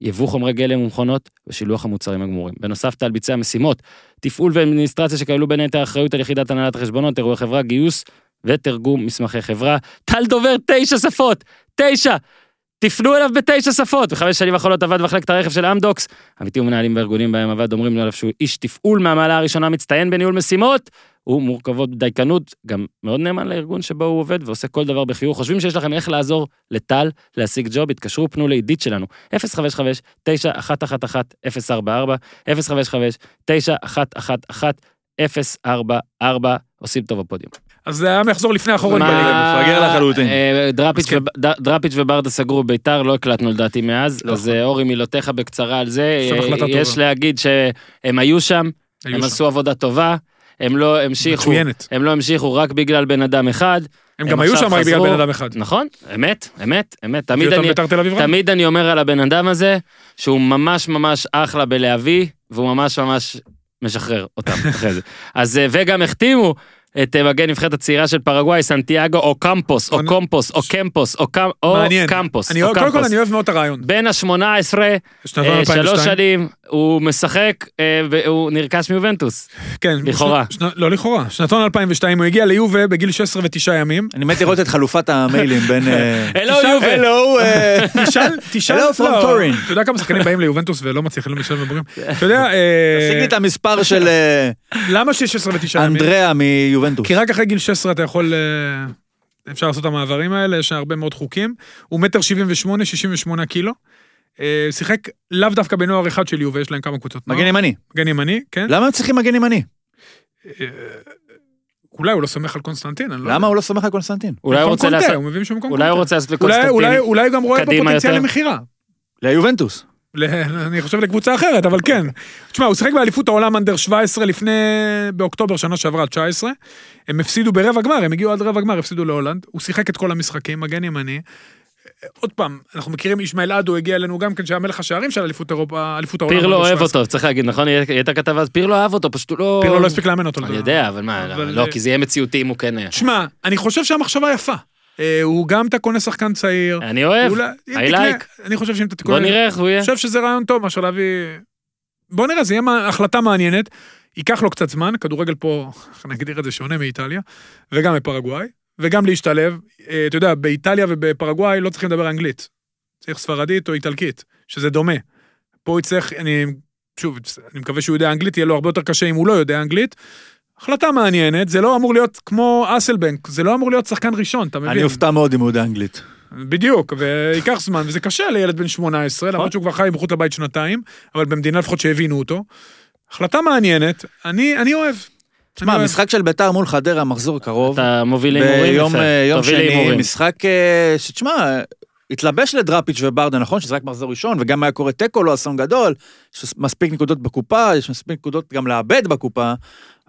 A: יבוא חומרי גלם ומכונות ושילוח המוצרים הגמורים. בנוסף, טל ביצע משימות תפעול ואדמיניסטרציה שכללו בין היתר אחריות על יחידת הנהלת חשבונות, אירועי חברה, גיוס ותרגום מסמכי חברה. טל דובר תשע שפות, תשע! תפנו אליו בתשע שפות. בחמש שנים האחרונות עבד במחלקת הרכב של אמדוקס. עמיתים ומנהלים בארגונים בהם עבד אומרים עליו שהוא איש תפעול מהמעלה הראשונה, מצטיין בניהול משימות. הוא מורכבות בדייקנות, גם מאוד נאמן לארגון שבו הוא עובד ועושה כל דבר בחיוך. חושבים שיש לכם איך לעזור לטל להשיג ג'וב, התקשרו, פנו לעידית שלנו, 055 9111 044 055 9111-044, עושים טוב הפודיום.
D: אז זה היה מחזור לפני האחרון
A: מה-
D: בליגה.
C: מפגר לחלוטין.
A: אה, דראפיץ'
D: מסכים.
A: וב- ד- דראפיץ' וברדה סגרו ביתר, לא הקלטנו לדעתי מאז,
C: לא.
A: אז אה, אורי מילותיך בקצרה על זה,
D: יש לנו
A: אה,
D: החלטה
A: יש
D: טובה.
A: להגיד שהם היו שם,
D: היו
A: הם
D: שם.
A: עשו עבודה טובה. הם לא המשיכו,
D: מצוינת.
A: הם לא המשיכו רק בגלל בן אדם אחד.
D: הם גם היו
A: עכשיו
D: שם רק בגלל
A: חזרו.
D: בן אדם אחד.
A: נכון, אמת, אמת, אמת. תמיד
D: הביא אותם
A: אני,
D: בית"ר תל אביב רק.
A: תמיד אני אומר על הבן אדם הזה, שהוא ממש ממש אחלה בלהביא, והוא ממש ממש משחרר
D: (laughs)
A: אותם אחרי זה. אז, אה, וגם החתימו את אה, מגן נבחרת הצעירה של פרגוואי, סנטיאגו או קמפוס, או
D: אני-
A: קמפוס, או קמפוס, או קמ- או
D: מעניין.
A: קמפוס.
D: אני
A: או
D: אוהב- קודם כל
A: קמפוס.
D: אני אוהב מאוד את הרעיון.
A: בין ה-18,
D: שנתון 2002.
A: אה, שלוש שנים, הוא משחק, אה, והוא נרכש מיובנטוס.
D: כן.
A: לכאורה.
D: שנה- לא לכאורה. שנתון 2002 הוא הגיע ליובה בגיל 16 ותשעה ימים.
C: אני מת לראות את חלופת המיילים בין...
D: (laughs)
C: אה,
A: הלו יובל.
C: הלו, אה,
D: תשאל, תשאל,
C: Hello from
D: לא,
C: Turin.
D: אתה יודע כמה שחקנים באים ליובנטוס ולא מצליחים לשלם
C: (laughs)
D: לבוגרים? אתה יודע, אה,
C: (laughs) תשיג לי את המספר של אה,
D: למה 16 ותשעה ימים?
C: אנדריאה מיובנטוס.
D: כי רק אחרי גיל 16 אתה יכול... אה, אפשר לעשות את המעברים האלה, יש הרבה מאוד חוקים. הוא מטר 78, 68 קילו. אה, שיחק לאו דווקא בנוער אחד של יובה, יש להם כמה קבוצות נוער.
C: מגן ימני.
D: מגן ימני, כן.
C: למה הם צריכים מגן ימני?
D: אולי הוא לא סומך על קונסטנטין, אני לא יודע.
C: למה הוא לא סומך על קונסטנטין?
A: אולי הוא
D: במקום
A: רוצה
D: קונטה,
A: לעשות...
D: הוא מבין שהוא במקום
A: אולי הוא רוצה לעשות
D: קונטה. אולי- אולי-
A: לקונסטנטין.
D: אולי גם רואה פה
A: קדימה
D: פוטנציאל
A: יותר.
D: למכירה.
C: ליובנטוס.
D: ל- אני חושב לקבוצה אחרת, אבל כן. תשמע, הוא שיחק באליפות העולם אנדר 17 לפני... באוקטובר שנה שעברה, 19. הם הפסידו ברבע גמר, הם הגיעו עד רבע גמר, הפסידו להולנד. הוא שיחק את כל המשחקים, מגן ימני. עוד פעם, אנחנו מכירים, ישמעאל עדו הגיע אלינו גם כן, שהיה מלך השערים של אליפות אירופה, אליפות העולם.
A: פירלו
D: ב-
A: לא אוהב
D: 17.
A: אותו, צריך להגיד, נכון? הייתה כתבה, אז פירלו אהב אותו, פשוט הוא לא...
D: פירלו לא הספיק לאמן אותו.
A: אני יודע, אבל מה,
D: אבל-
A: לא, כי זה יהיה מציאותי אם הוא כן היה.
D: שמע, אני חושב שהמחשבה יפה. אה, הוא גם אתה קונה שחקן צעיר.
A: אני אוהב,
D: אולי- אם
A: I
D: תקנה-
A: like.
D: אני חושב שאם אתה תקונה...
A: בוא נראה איך הוא יהיה.
D: אני חושב שזה רעיון טוב מאשר להביא... בוא נראה, זה יהיה מה- החלטה מעניינת. ייקח לו קצת זמן, כדורגל פה, (laughs) איך נגדיר את זה, שונה מאיטליה, וגם מפרגוואי, וגם להשתלב. אה, אתה יודע, באיטליה ובפרגוואי לא צריכים לדבר אנגלית. צריך ספרדית או איטלקית, שזה דומה. פה הוא יצטרך, אני, שוב, אני מקווה שהוא יודע אנגלית, יהיה לו הרבה יותר קשה אם הוא לא יודע אנגלית. החלטה מעניינת, זה לא אמור להיות כמו אסלבנק, זה לא אמור להיות שחקן ראשון, אתה מבין?
C: אני אופתע מאוד אם הוא יודע אנגלית.
D: בדיוק, וייקח זמן, וזה קשה לילד בן 18,
A: נכון.
D: למרות שהוא כבר חי מחוץ לבית שנתיים, אבל במדינה לפחות שהבינו אותו. החלטה מעניינת, אני, אני אוהב.
C: שמע, המשחק של ביתר מול חדרה, מחזור קרוב.
A: אתה מוביל הימורים
C: ביום
A: יפה.
C: אה, יום
A: תוביל
C: שני,
A: הימורים.
C: משחק אה, שתשמע, התלבש לדראפיץ' וברדה, נכון? שזה רק מחזור ראשון, וגם היה קורה תיקו, לא אסון גדול, יש מספיק נקודות בקופה, יש מספיק נקודות גם לאבד בקופה,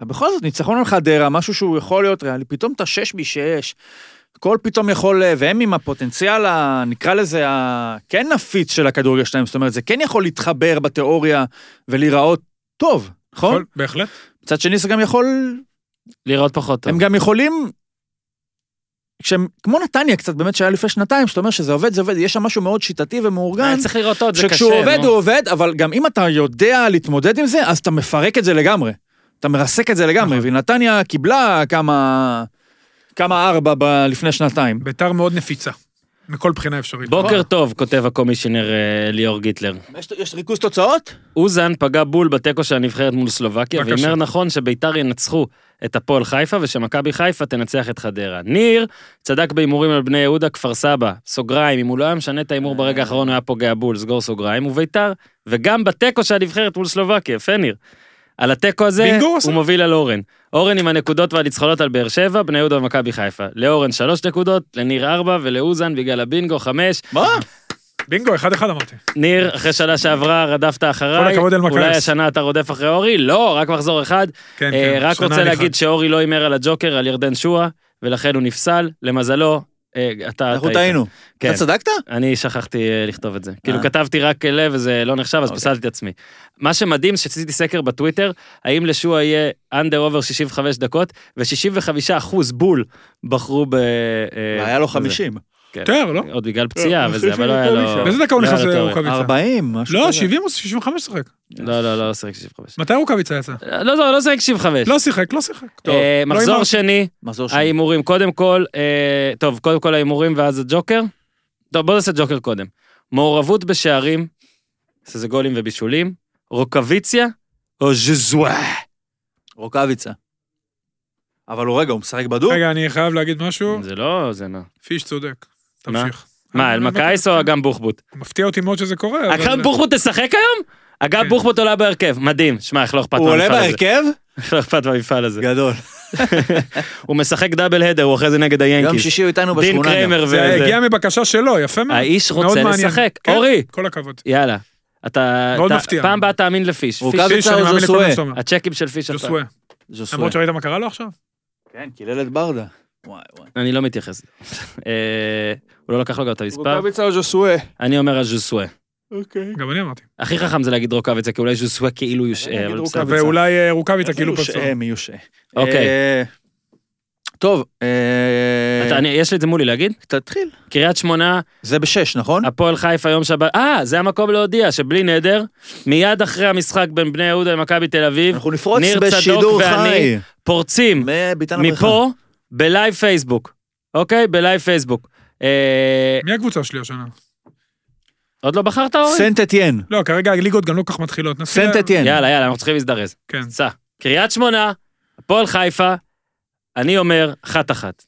C: אבל בכל זאת, ניצחון על חדרה, משהו שהוא יכול להיות ריאלי, פתאום אתה שש משש, הכל פתאום יכול, אה, והם עם הפוטנציאל, ה- נקרא לזה, הכן נפיץ של הכדורגל שלהם, זאת אומרת, זה כן יכול להתחבר בתיאוריה ולהיראות טוב, נכון?
D: יכול, בהחלט.
C: מצד שני, זה גם יכול
A: לראות פחות טוב.
C: הם גם יכולים... כשהם, כמו נתניה קצת, באמת, שהיה לפני שנתיים, שאתה אומר שזה עובד, זה עובד, יש שם משהו מאוד שיטתי
A: היה
C: ומאורגן,
A: אה, צריך לראות עוד, זה קשה.
C: שכשהוא עובד,
A: נו.
C: הוא עובד, אבל גם אם אתה יודע להתמודד עם זה, אז אתה מפרק את זה לגמרי. אתה מרסק את זה לגמרי,
A: נכון.
C: ונתניה קיבלה כמה... כמה ארבע ב- לפני שנתיים.
D: ביתר מאוד נפיצה, מכל בחינה אפשרית.
A: בוקר טוב, כותב הקומישיונר אה, ליאור גיטלר.
C: יש, יש ריכוז תוצאות?
A: אוזן פגע בול בתיקו של הנבחרת מול סלובקיה,
D: בבקשה.
A: והימר נכון שביתר ינצחו את הפועל חיפה ושמכבי חיפה תנצח את חדרה. ניר צדק בהימורים על בני יהודה, כפר סבא, סוגריים, אם הוא לא היה משנה את ההימור ברגע האחרון הוא היה פוגע בול, סגור סוגריים, וביתר, וגם בתיקו של הנבחרת מול סלובקיה, יפה ניר. על התיקו הזה
D: בינגו עושה.
A: הוא מוביל על אורן. אורן עם הנקודות והניצחונות על באר שבע, בני יהודה ומכבי חיפה. לאורן שלוש נקודות, לניר ארבע ולאוזן בגלל הבינגו חמש.
C: מה?
D: בינגו, אחד אחד אמרתי.
A: ניר, אחרי שנה שעברה רדפת אחריי.
D: כל הכבוד, אלמקייס.
A: אולי השנה אתה רודף אחרי אורי? לא, רק מחזור אחד.
D: כן,
A: אה,
D: כן,
A: רק
D: שנה
A: רוצה
D: אני
A: להגיד
D: אחד.
A: שאורי לא הימר על הג'וקר, על ירדן שואה, ולכן הוא נפסל. למזלו, אה, אתה...
C: אנחנו
A: טעית.
C: טעינו.
A: כן.
C: אתה צדקת?
A: אני שכחתי אה, לכתוב את זה. כאילו
C: אה.
A: כתבתי רק לב וזה לא נחשב, אז
C: אוקיי.
A: פסלתי את עצמי. מה שמדהים שעשיתי סקר בטוויטר, האם לשואה יהיה אנדר אובר 65 דקות, ו-65% בול בחרו ב... אה,
C: היה לו
A: בזה.
C: 50.
D: יותר, לא?
A: עוד בגלל פציעה
C: אני
A: וזה,
C: חושב
A: אבל לא היה
C: שיותר
A: לו...
C: משם.
D: באיזה דקה הוא
A: לא היה
D: נכנס
A: לו תיאוריה.
D: לרוקאביצה?
C: 40, משהו
A: אה,
D: לא,
C: כזה.
D: 70 או 65 שיחק.
A: לא, לא, לא, לא שיחק 65.
D: מתי רוקאביצה יצא?
A: לא, לא, לא שיחק 65.
D: לא שיחק, לא שיחק. טוב,
A: אה,
D: לא
A: מחזור
D: הימרת.
A: שני,
C: מחזור שני.
A: ההימורים. קודם כל, אה, טוב, קודם כל ההימורים ואז הג'וקר. טוב, בוא נעשה ג'וקר קודם. מעורבות בשערים, שזה גולים ובישולים, רוקוויציה או ז'זווה.
C: רוקאביצה. אבל הוא רגע, הוא משחק בדוק?
D: רגע, אני חייב להגיד משהו.
A: זה לא, זה מה.
D: פיש צודק.
A: מה?
D: תמשיך.
A: מה,
D: אני- כן.
A: אלמקייס או אגם בוחבוט?
D: מפתיע אותי מאוד שזה קורה. אבל-
A: אגם בוחבוט תשחק היום? אגם
D: אה, לא כן.
A: בוחבוט עולה בהרכב, מדהים. שמע, איך לא אכפת
C: הוא עולה
A: מהמפעל הזה.
C: בהרכב?
A: לא אכפת מהמפעל הזה.
C: גדול.
A: (laughs) הוא משחק דאבל הדר, הוא אחרי זה נגד
C: יום
A: היאנקיס.
C: שישי הוא איתנו
A: כן, דין
C: בשכונה גם.
A: קריימר
D: זה
A: וזה.
D: הגיע מבקשה שלו, יפה מאוד.
A: האיש
D: מאוד
A: רוצה
D: מעניין.
A: לשחק.
D: כן,
A: אורי.
D: כל הכבוד.
A: יאללה. אתה...
D: מאוד
A: אתה-
D: מפתיע.
A: פעם באה תאמין לפיש. פיש-
C: רוקאביצה
D: אני
C: או
D: מאמין לכל
C: זוסואה?
D: מה שאתה אומר.
A: הצ'קים של פיש עכשיו.
D: ז'וסווה.
A: ז'וסווה.
D: למרות שראית מה קרה לו עכשיו?
C: כן, קילל את ברדה. וואי וואי.
A: אני לא מתייחס. (laughs) אה, הוא לא לקח לו גם את המספר.
C: רוקאביצה או ז'וסווה?
A: אני אומר על ז'וסווה.
C: אוקיי.
D: גם אני אמרתי.
A: הכי חכם זה להגיד רוקאביצה, כי אולי ז'וסווה כאילו יושעה,
C: נגיד
A: אבל
C: רוקאביצה.
A: בסדר.
D: ואולי אה, רוקאביצה כאילו פצוע.
C: יושעה, מי יושעה.
A: אוקיי.
C: אה, טוב, אה,
A: אתה- אני- יש לי את זה מולי להגיד?
C: תתחיל.
A: קריית שמונה,
C: זה בשש, נכון?
A: הפועל חיפה יום שבת, אה, זה המקום להודיע שבלי נדר, מיד אחרי המשחק בין בני יהודה למכבי תל אביב,
C: אנחנו נפרוץ
A: ניר צדוק
C: בשידור
A: ואני
C: חי.
A: פורצים
C: מביתן הבריכה.
A: מפה בלייב פייסבוק, אוקיי? בלייב פייסבוק. אה,
D: מי הקבוצה שלי השנה?
A: עוד לא בחרת אורי?
C: סנט אתיין.
D: לא, כרגע הליגות גם לא כל כך מתחילות. נתחיל-
C: סנט אתיין.
A: יאללה, יאללה, אנחנו צריכים להזדרז.
D: כן.
A: סע. קריית שמונה, הפועל חיפה, אני אומר, אחת-אחת.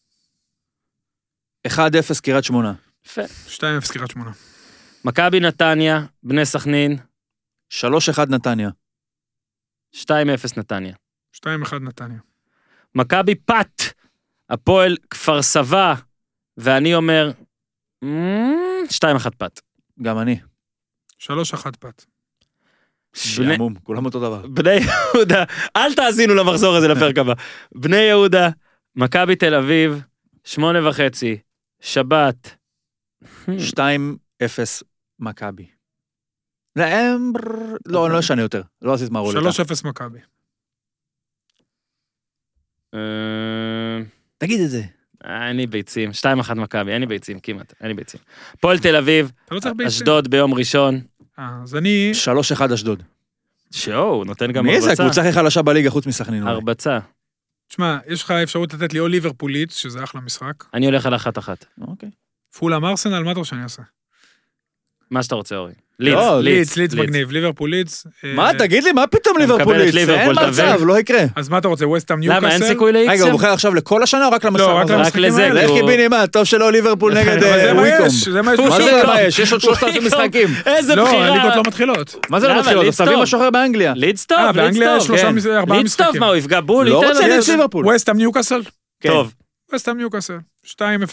C: 1-0 קריית שמונה.
A: יפה.
D: 2-0 קריית שמונה.
A: מכבי נתניה, בני סכנין,
C: 3-1 נתניה.
A: 2-0 נתניה.
D: 2-1 נתניה.
A: מכבי פת, הפועל כפר סבא, ואני אומר, "מ, 2-1 פת.
C: גם אני.
D: 3-1 פת.
C: שעמום, כולם אותו דבר.
A: בני יהודה, אל תאזינו למחזור הזה לפרק הבא. בני יהודה, מכבי תל אביב, שמונה וחצי, שבת.
D: Hmm.
C: 2-0 מכבי. לא, הם- לא,
D: אוקיי.
C: אני לא אשנה יותר. לא עשית מה רולטה.
D: 3-0 מכבי.
A: אה,
C: תגיד את זה.
A: אין לי ביצים, 2-1 מכבי, אין לי ביצים כמעט, אין לי ביצים. הפועל תל אביב,
D: אתה לא צריך ביצים.
A: אה, אשדוד ביום ראשון.
D: אה, אז אני...
C: 3-1 אשדוד.
A: שואו, נותן גם
C: מי זה
A: הרבצה.
C: הקבוצה הכי חלשה בליגה חוץ מסכנין? אולי?
A: הרבצה.
D: תשמע, יש לך אפשרות לתת לי או ליברפולית, שזה אחלה משחק.
A: אני הולך על אחת-אחת.
C: אוקיי.
D: פולאם ארסנל, מה אתה רוצה שאני אעשה?
A: מה שאתה רוצה, אורי.
C: לא,
D: ליץ, ליץ מגניב, ליברפול ליץ. אה,
C: מה, תגיד לי, מה פתאום
A: מקבל את
C: ליברפוליץ? אין
A: ליברפול,
C: מצב,
A: תבין.
C: לא יקרה.
D: אז מה אתה רוצה, ווסטאם ניוקאסל?
A: למה, אין סיכוי
C: רגע, הוא
A: לאיקסם?
C: בוחר עכשיו לכל השנה או רק למשחק?
D: לא, רק
A: רק
D: למשחקים
A: לזה, כאילו-
D: האלה.
A: הוא-
C: לך קיבינימט, טוב שלא ליברפול נגד
D: אבל
C: אה,
D: זה מה יש,
C: וויקום.
D: זה מה יש.
C: מה זה
A: וויקום.
C: למה יש? יש
A: (laughs)
C: עוד 3,000 משחקים.
A: איזה
D: לא,
A: בחירה.
D: הליגות לא מתחילות.
C: מה זה
A: למה?
C: לא מתחיל?
A: לידס
C: אז תביא
A: טוב.
C: משוחרר באנגליה.
A: לידס טוב,
D: אה,
A: לידס
D: באנגליה יש
A: טוב,
D: שלושה
A: כן.
D: מזה- ארבעה
A: לידס טוב,
D: משחקים.
A: מה, הוא יפגע בול?
C: לא
A: ייתן
C: רוצה
A: לו-
C: לידס ליברפול.
D: ווסטאם ניוקאסל?
C: כן.
A: טוב,
D: ווסטאם ניוקאסל. 2-0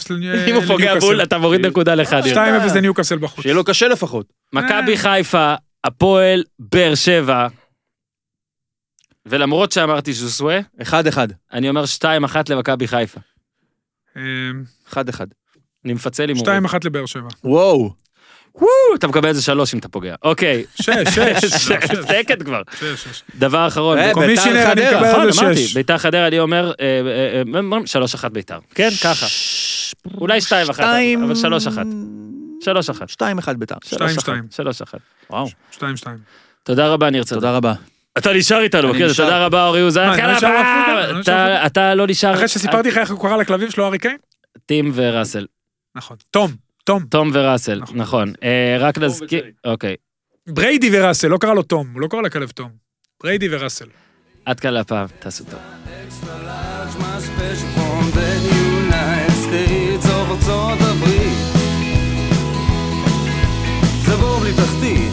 D: לני-
A: אם הוא פוגע בול,
D: לניוקאסל.
A: אתה מוריד נקודה
D: אה,
A: לאחד. יורי.
D: 2-0 לניוקאסל בחוץ.
C: שיהיה לו קשה לפחות.
A: מכבי חיפה, הפועל, באר שבע. ולמרות שאמרתי ז'וסווה,
C: 1-1.
A: אני אומר 2-1 למכבי חיפה.
D: אה,
C: 1-1.
A: אני מפצל הימורים.
D: 2-1 לבאר שבע.
C: וואו.
A: וואו, אתה מקבל איזה שלוש אם אתה פוגע. אוקיי. (laughs)
D: 6, 6.
A: שקט כבר.
D: 6, 6.
A: דבר אחרון.
C: אה,
A: במקום-
D: קומישיונר, אני
C: חדרה.
D: מקבל
A: נכון,
D: איזה
A: אמרתי,
D: שש.
A: ביתר חדרה, אני אומר, אה, אה, אה, שלוש אחת ביתר. כן, ככה. אולי שתיים אחת,
C: שתיים-
A: אבל שלוש אחת. שלוש אחת.
C: 2-1 ביתר.
A: שלוש אחת,
D: 2-2.
A: שלוש אחת.
C: וואו.
D: 2-2.
A: תודה רבה, ניר צדוק.
C: תודה רבה.
A: אתה נשאר איתנו,
C: אני
A: בקטע,
C: נשאר.
A: תודה רבה, אורי אוזן.
D: אני לא
A: יאללה,
D: נשאר
A: ביי.
D: אפילו, אני לא נשאר
A: אתה-
D: אפילו.
A: אתה לא נשאר...
D: אחרי שסיפרתי לך איך הוא קרא לכלבים שלו הארי קיין?
A: טים וראסל.
D: נכון. תום, תום.
A: תום וראסל,
D: נכון.
A: נכון. אה, רק נזכיר... אוקיי.
D: בריידי וראסל, לא קרא לו תום, הוא לא קרא לכלב תום. בריידי וראסל.
A: עד כאן להפעם, תעשו טוב.
B: extra large, my special from the United States, ארצות הברית. זה בור בלי תחתית. כן,